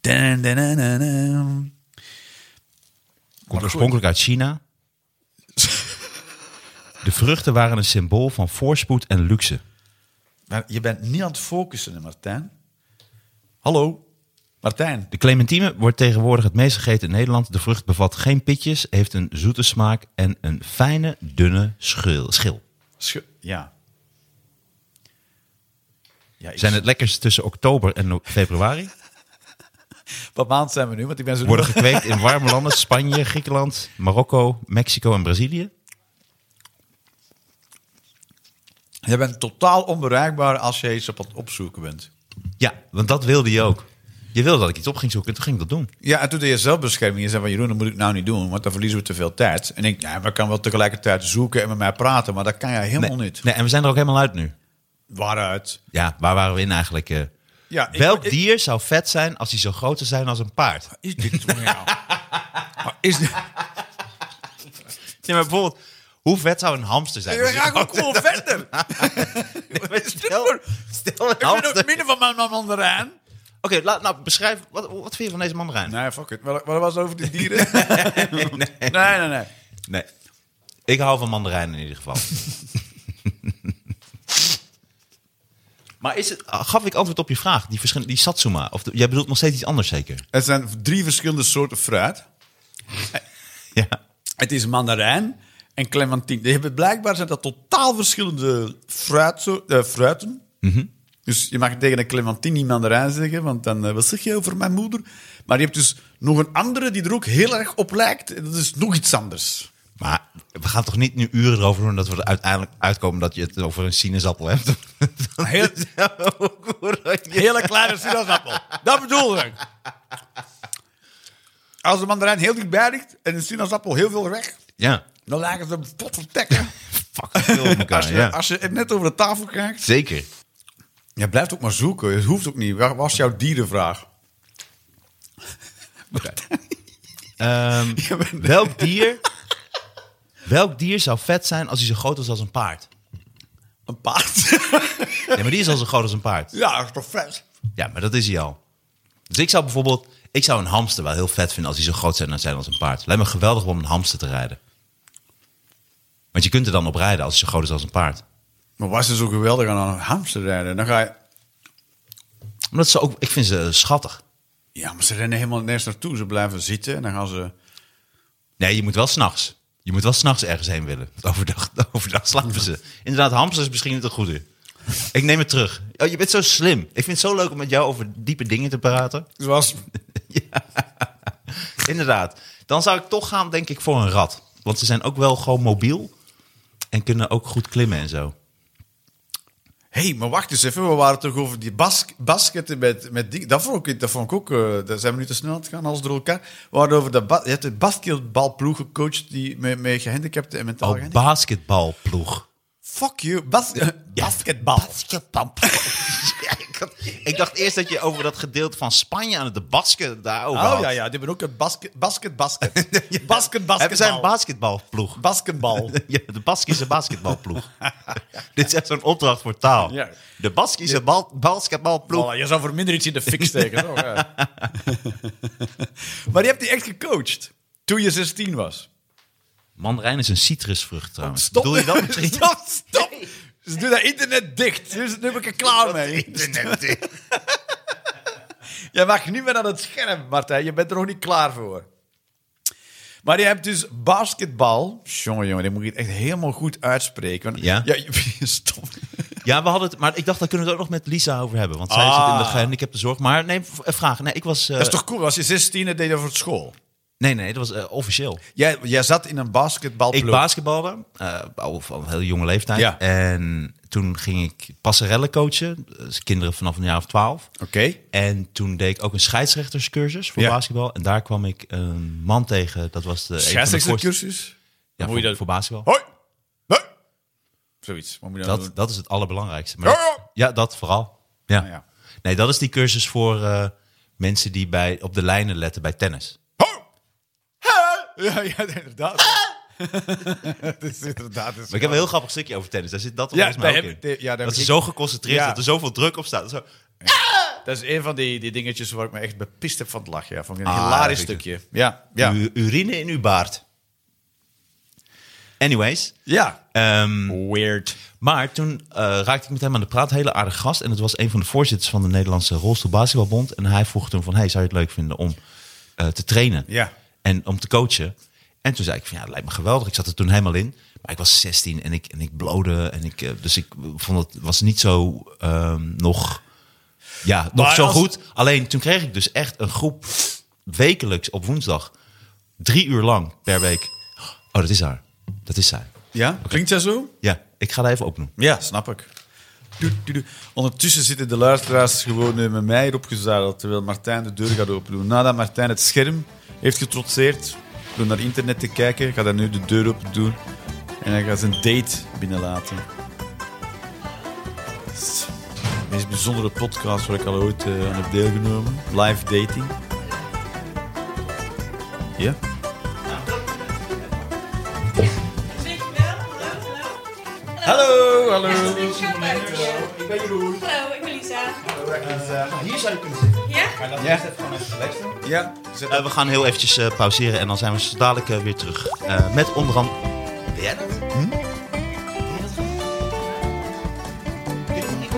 Speaker 3: Dan, dan, dan, dan, dan.
Speaker 2: Komt oorspronkelijk uit China. De vruchten waren een symbool van voorspoed en luxe.
Speaker 3: Maar je bent niet aan het focussen, hè, Martijn. Hallo, Martijn.
Speaker 2: De clementine wordt tegenwoordig het meest gegeten in Nederland. De vrucht bevat geen pitjes, heeft een zoete smaak en een fijne, dunne schil. schil.
Speaker 3: Schu- ja. ja ik-
Speaker 2: Zijn het lekkerst tussen oktober en no- februari?
Speaker 3: Wat maand zijn we nu? Want ik ben zo...
Speaker 2: Worden gekweekt in warme landen, Spanje, Griekenland, Marokko, Mexico en Brazilië.
Speaker 3: Je bent totaal onbereikbaar als je iets op het opzoeken bent.
Speaker 2: Ja, want dat wilde je ook. Je wilde dat ik iets op ging zoeken, toen ging ik dat doen.
Speaker 3: Ja, en toen deed je zelfbescherming. Je zei van, Jeroen, dat moet ik nou niet doen, want dan verliezen we te veel tijd. En ik, ja, maar ik kan wel tegelijkertijd zoeken en met mij praten, maar dat kan jij helemaal
Speaker 2: Nee,
Speaker 3: niet.
Speaker 2: nee, en we zijn er ook helemaal uit nu.
Speaker 3: Waaruit?
Speaker 2: Ja, waar waren we in eigenlijk? eh?
Speaker 3: Ja, ik-
Speaker 2: Welk
Speaker 3: ik-
Speaker 2: dier zou vet zijn als hij zo groot zou zijn als een paard?
Speaker 3: Is dit van jou? Maar is dit...
Speaker 2: Nee, maar bijvoorbeeld, hoe vet zou een hamster zijn? Dus
Speaker 3: We
Speaker 2: Als
Speaker 3: gaan
Speaker 2: hij-
Speaker 3: ook gewoon verder.
Speaker 2: Maar stel, stel een
Speaker 3: Ik ben ook
Speaker 2: hamster.
Speaker 3: het midden van mijn mijn mandarijn.
Speaker 2: Oké, laat- nou beschrijf, wat, wat vind je van deze mandarijn?
Speaker 3: Nee, fuck it. Wat wat was het over die dieren? nee, nee, nee.
Speaker 2: Nee. Ik hou van mandarijnen in ieder geval. maar is het, ah, gaf ik antwoord op je vraag? Die, verschil- die satsuma? Of de- jij bedoelt nog steeds iets anders zeker?
Speaker 3: Het zijn drie verschillende soorten fruit.
Speaker 2: Ja.
Speaker 3: Het is mandarijn en clementine. Die hebben, blijkbaar zijn dat totaal verschillende fruitso- eh, fruiten. Dus je mag tegen een clementine niet mandarijn zeggen, want dan eh, wat zeg je over mijn moeder? Maar je hebt dus nog een andere die er ook heel erg op lijkt. En dat is nog iets anders.
Speaker 2: Maar we gaan toch niet nu uren erover doen dat we er uiteindelijk uitkomen dat je het over een sinaasappel hebt?
Speaker 3: Heel- Hele kleine sinaasappel. Dat bedoel ik. Als de mandarijn heel dichtbij ligt en de sinaasappel heel veel weg,
Speaker 2: ja.
Speaker 3: dan lijken ze pot van tekken.
Speaker 2: Fuck, veel op elkaar.
Speaker 3: Als je,
Speaker 2: ja.
Speaker 3: als je het net over de tafel krijgt.
Speaker 2: Zeker.
Speaker 3: Je blijft ook maar zoeken. Het hoeft ook niet. Waar was jouw dierenvraag?
Speaker 2: Ehm,
Speaker 3: Je bent-
Speaker 2: welk dier... Welk dier zou vet zijn als hij zo groot is als een paard?
Speaker 3: Een paard.
Speaker 2: Ja, maar die is al zo groot als een paard.
Speaker 3: ja, dat is toch vet?
Speaker 2: Ja, maar dat is hij al. Dus ik zou bijvoorbeeld... Ik zou een hamster wel heel vet vinden als die zo groot zijn zijn als een paard. Lijkt me geweldig om een hamster te rijden. Want je kunt er dan op rijden als hij zo groot is als een paard.
Speaker 3: Maar was ze zo geweldig aan een hamster rijden? Dan ga je...
Speaker 2: Omdat ze ook... Ik vind ze schattig.
Speaker 3: Ja, maar ze rennen helemaal nergens naartoe. Ze blijven zitten en dan gaan ze...
Speaker 2: Nee, je moet wel s'nachts. Je moet wel s'nachts ergens heen willen. Want Overdag, overdag slapen ze. Inderdaad, hamsters is misschien niet het goede. Ik neem het terug. Oh, je bent zo slim. Ik vind het zo leuk om met jou over diepe dingen te praten.
Speaker 3: Zoals...
Speaker 2: Inderdaad. Dan zou ik toch gaan, denk ik, voor een rat. Want ze zijn ook wel gewoon mobiel. En kunnen ook goed klimmen en zo.
Speaker 3: Hé, hey, maar wacht eens even. We waren toch over die bas basketten met, met dingen. Dat vond ik, dat vond ik ook... eh, daar zijn we nu te snel aan het gaan, alles door elkaar. We waren over de... ba- Je hebt de basketbalploeg gecoacht die, met, met gehandicapten en mentaal
Speaker 2: Oh,
Speaker 3: gehandicapten.
Speaker 2: basketbalploeg.
Speaker 3: Fuck you. Bas Basketbal.
Speaker 2: Ja, ik, had- ik dacht eerst dat je over dat gedeelte van Spanje aan het de basket daarover
Speaker 3: Oh
Speaker 2: had.
Speaker 3: ja, ja, die hebben ook een basket, basket, basket. basket,
Speaker 2: Hebben zij een
Speaker 3: basketbal.
Speaker 2: basketbalploeg?
Speaker 3: basketbal.
Speaker 2: Ja, de Baskische basketbalploeg. Dit is echt zo'n opdracht voor taal.
Speaker 3: Ja.
Speaker 2: De Baskische bal- basketbalploeg.
Speaker 3: Voilà, je zou voor minder iets in de fik steken. toch? Ja. maar je hebt die echt gecoacht toen je 16 was.
Speaker 2: Mandarijn is een citrusvrucht trouwens.
Speaker 3: Stop.
Speaker 2: Bedoel je dat misschien?
Speaker 3: stop, stop. Dus doe dat internet dicht. Dus nu ben ik er klaar mee. Je mag niet meer aan het scherm, Martijn. Je bent er nog niet klaar voor. Maar je hebt dus basketbal. Jongen, jongen, dit moet je echt helemaal goed uitspreken. Want-
Speaker 2: Ja?
Speaker 3: je- stop.
Speaker 2: Ja, we hadden het, maar ik dacht, daar kunnen we het ook nog met Lisa over hebben. Want zij
Speaker 3: Ah.
Speaker 2: zit in de gehandicaptenzorg. Maar nee, v- eh, vraag. Nee, ik was... eh,
Speaker 3: Dat is toch cool? Als je 16 deed je dat voor school.
Speaker 2: Nee, nee, dat was eh, officieel.
Speaker 3: Jij, jij zat in een basketbalploeg.
Speaker 2: Ik basketbalde, eh al van een heel jonge leeftijd.
Speaker 3: Ja.
Speaker 2: En toen ging ik passerellen coachen. Dus kinderen vanaf een jaar of twaalf.
Speaker 3: Oké.
Speaker 2: En toen deed ik ook een scheidsrechterscursus voor
Speaker 3: Ja.
Speaker 2: basketbal. En daar kwam ik een man tegen. Dat was de een van de voorste-
Speaker 3: Scheidsrechtscursus?
Speaker 2: Ja,
Speaker 3: Moet
Speaker 2: voor,
Speaker 3: je dat- Oh.
Speaker 2: voor basketbal.
Speaker 3: Hoi! Hoi! Zoiets. Wat moet je dan
Speaker 2: Dat,
Speaker 3: doen?
Speaker 2: dat is het allerbelangrijkste.
Speaker 3: Ja, ja. Nou
Speaker 2: Maar, ja, dat vooral. Ja.
Speaker 3: ja.
Speaker 2: Nee, dat is die cursus voor eh, mensen die bij, op de lijnen letten bij tennis.
Speaker 3: Hoi! Hoi! Ja, ja, inderdaad. Het is inderdaad... het is-
Speaker 2: Maar ik heb een heel grappig stukje over tennis. Daar zit dat
Speaker 3: Ja,
Speaker 2: volgens mij
Speaker 3: daar
Speaker 2: ook
Speaker 3: heb
Speaker 2: in.
Speaker 3: ik- ja, daar heb
Speaker 2: dat ze
Speaker 3: ik-
Speaker 2: zo geconcentreerd
Speaker 3: Ja.
Speaker 2: dat er zoveel druk op staat. Zo,
Speaker 3: Dat is een van die, die dingetjes waar ik me echt bepist heb van het lachen. Ja. Vond ik een
Speaker 2: Ah,
Speaker 3: hilarisch
Speaker 2: dat vind ik
Speaker 3: stukje. Ja, ja.
Speaker 2: u- urine in uw baard. Anyways.
Speaker 3: Ja.
Speaker 2: ehm,
Speaker 3: Weird.
Speaker 2: maar toen eh, raakte ik met hem aan de praat. Hele aardige gast. En het was een van de voorzitters van de Nederlandse Rolstoelbasketbalbond. En hij vroeg toen van... Hey, zou je het leuk vinden om eh, te trainen?
Speaker 3: Ja.
Speaker 2: En om te coachen? En toen zei ik van... Ja, dat lijkt me geweldig. Ik zat er toen helemaal in. Maar ik was 16 en ik, en ik blode. En ik, eh, dus ik vond het was niet zo ehm, nog... Ja, nog
Speaker 3: Maar
Speaker 2: zo
Speaker 3: als-
Speaker 2: goed. Alleen toen kreeg ik dus echt een groep wekelijks op woensdag. Drie uur lang per week. Oh, dat is haar. Dat is zij.
Speaker 3: Ja, klinkt dat zo?
Speaker 2: Ja, ik ga dat even opnoemen.
Speaker 3: Ja, snap ik. Doe, doe, doe. Ondertussen zitten de luisteraars gewoon eh, met mij erop gezadeld, terwijl Martijn de deur gaat open doen. Nadat Martijn het scherm heeft getrotseerd door naar internet te kijken, gaat hij nu de deur open doen en hij gaat zijn date binnenlaten. Dat is De meest bijzondere podcast waar ik al ooit eh, aan heb deelgenomen. Live dating. Ja? Hallo, hallo.
Speaker 4: Hallo,
Speaker 2: Ik ben Jeroen.
Speaker 4: ik ben Lisa.
Speaker 2: Hier zou je kunnen zitten.
Speaker 4: Ja?
Speaker 3: Ja, ja. Zet
Speaker 2: we gaan heel eventjes eh, pauzeren en dan zijn we zo dadelijk eh, weer terug. Eh, met onder andere... Ben jij dat? Hm? Ben jij dat? Kun je nog niet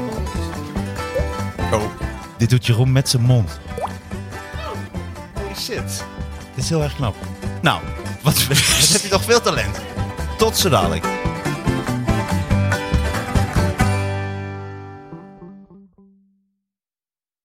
Speaker 2: komen? Oh. Dit doet Jeroen met zijn mond. Holy shit. Dit is heel erg knap. Nou, wat, wat heb je toch veel talent. Tot zo dadelijk.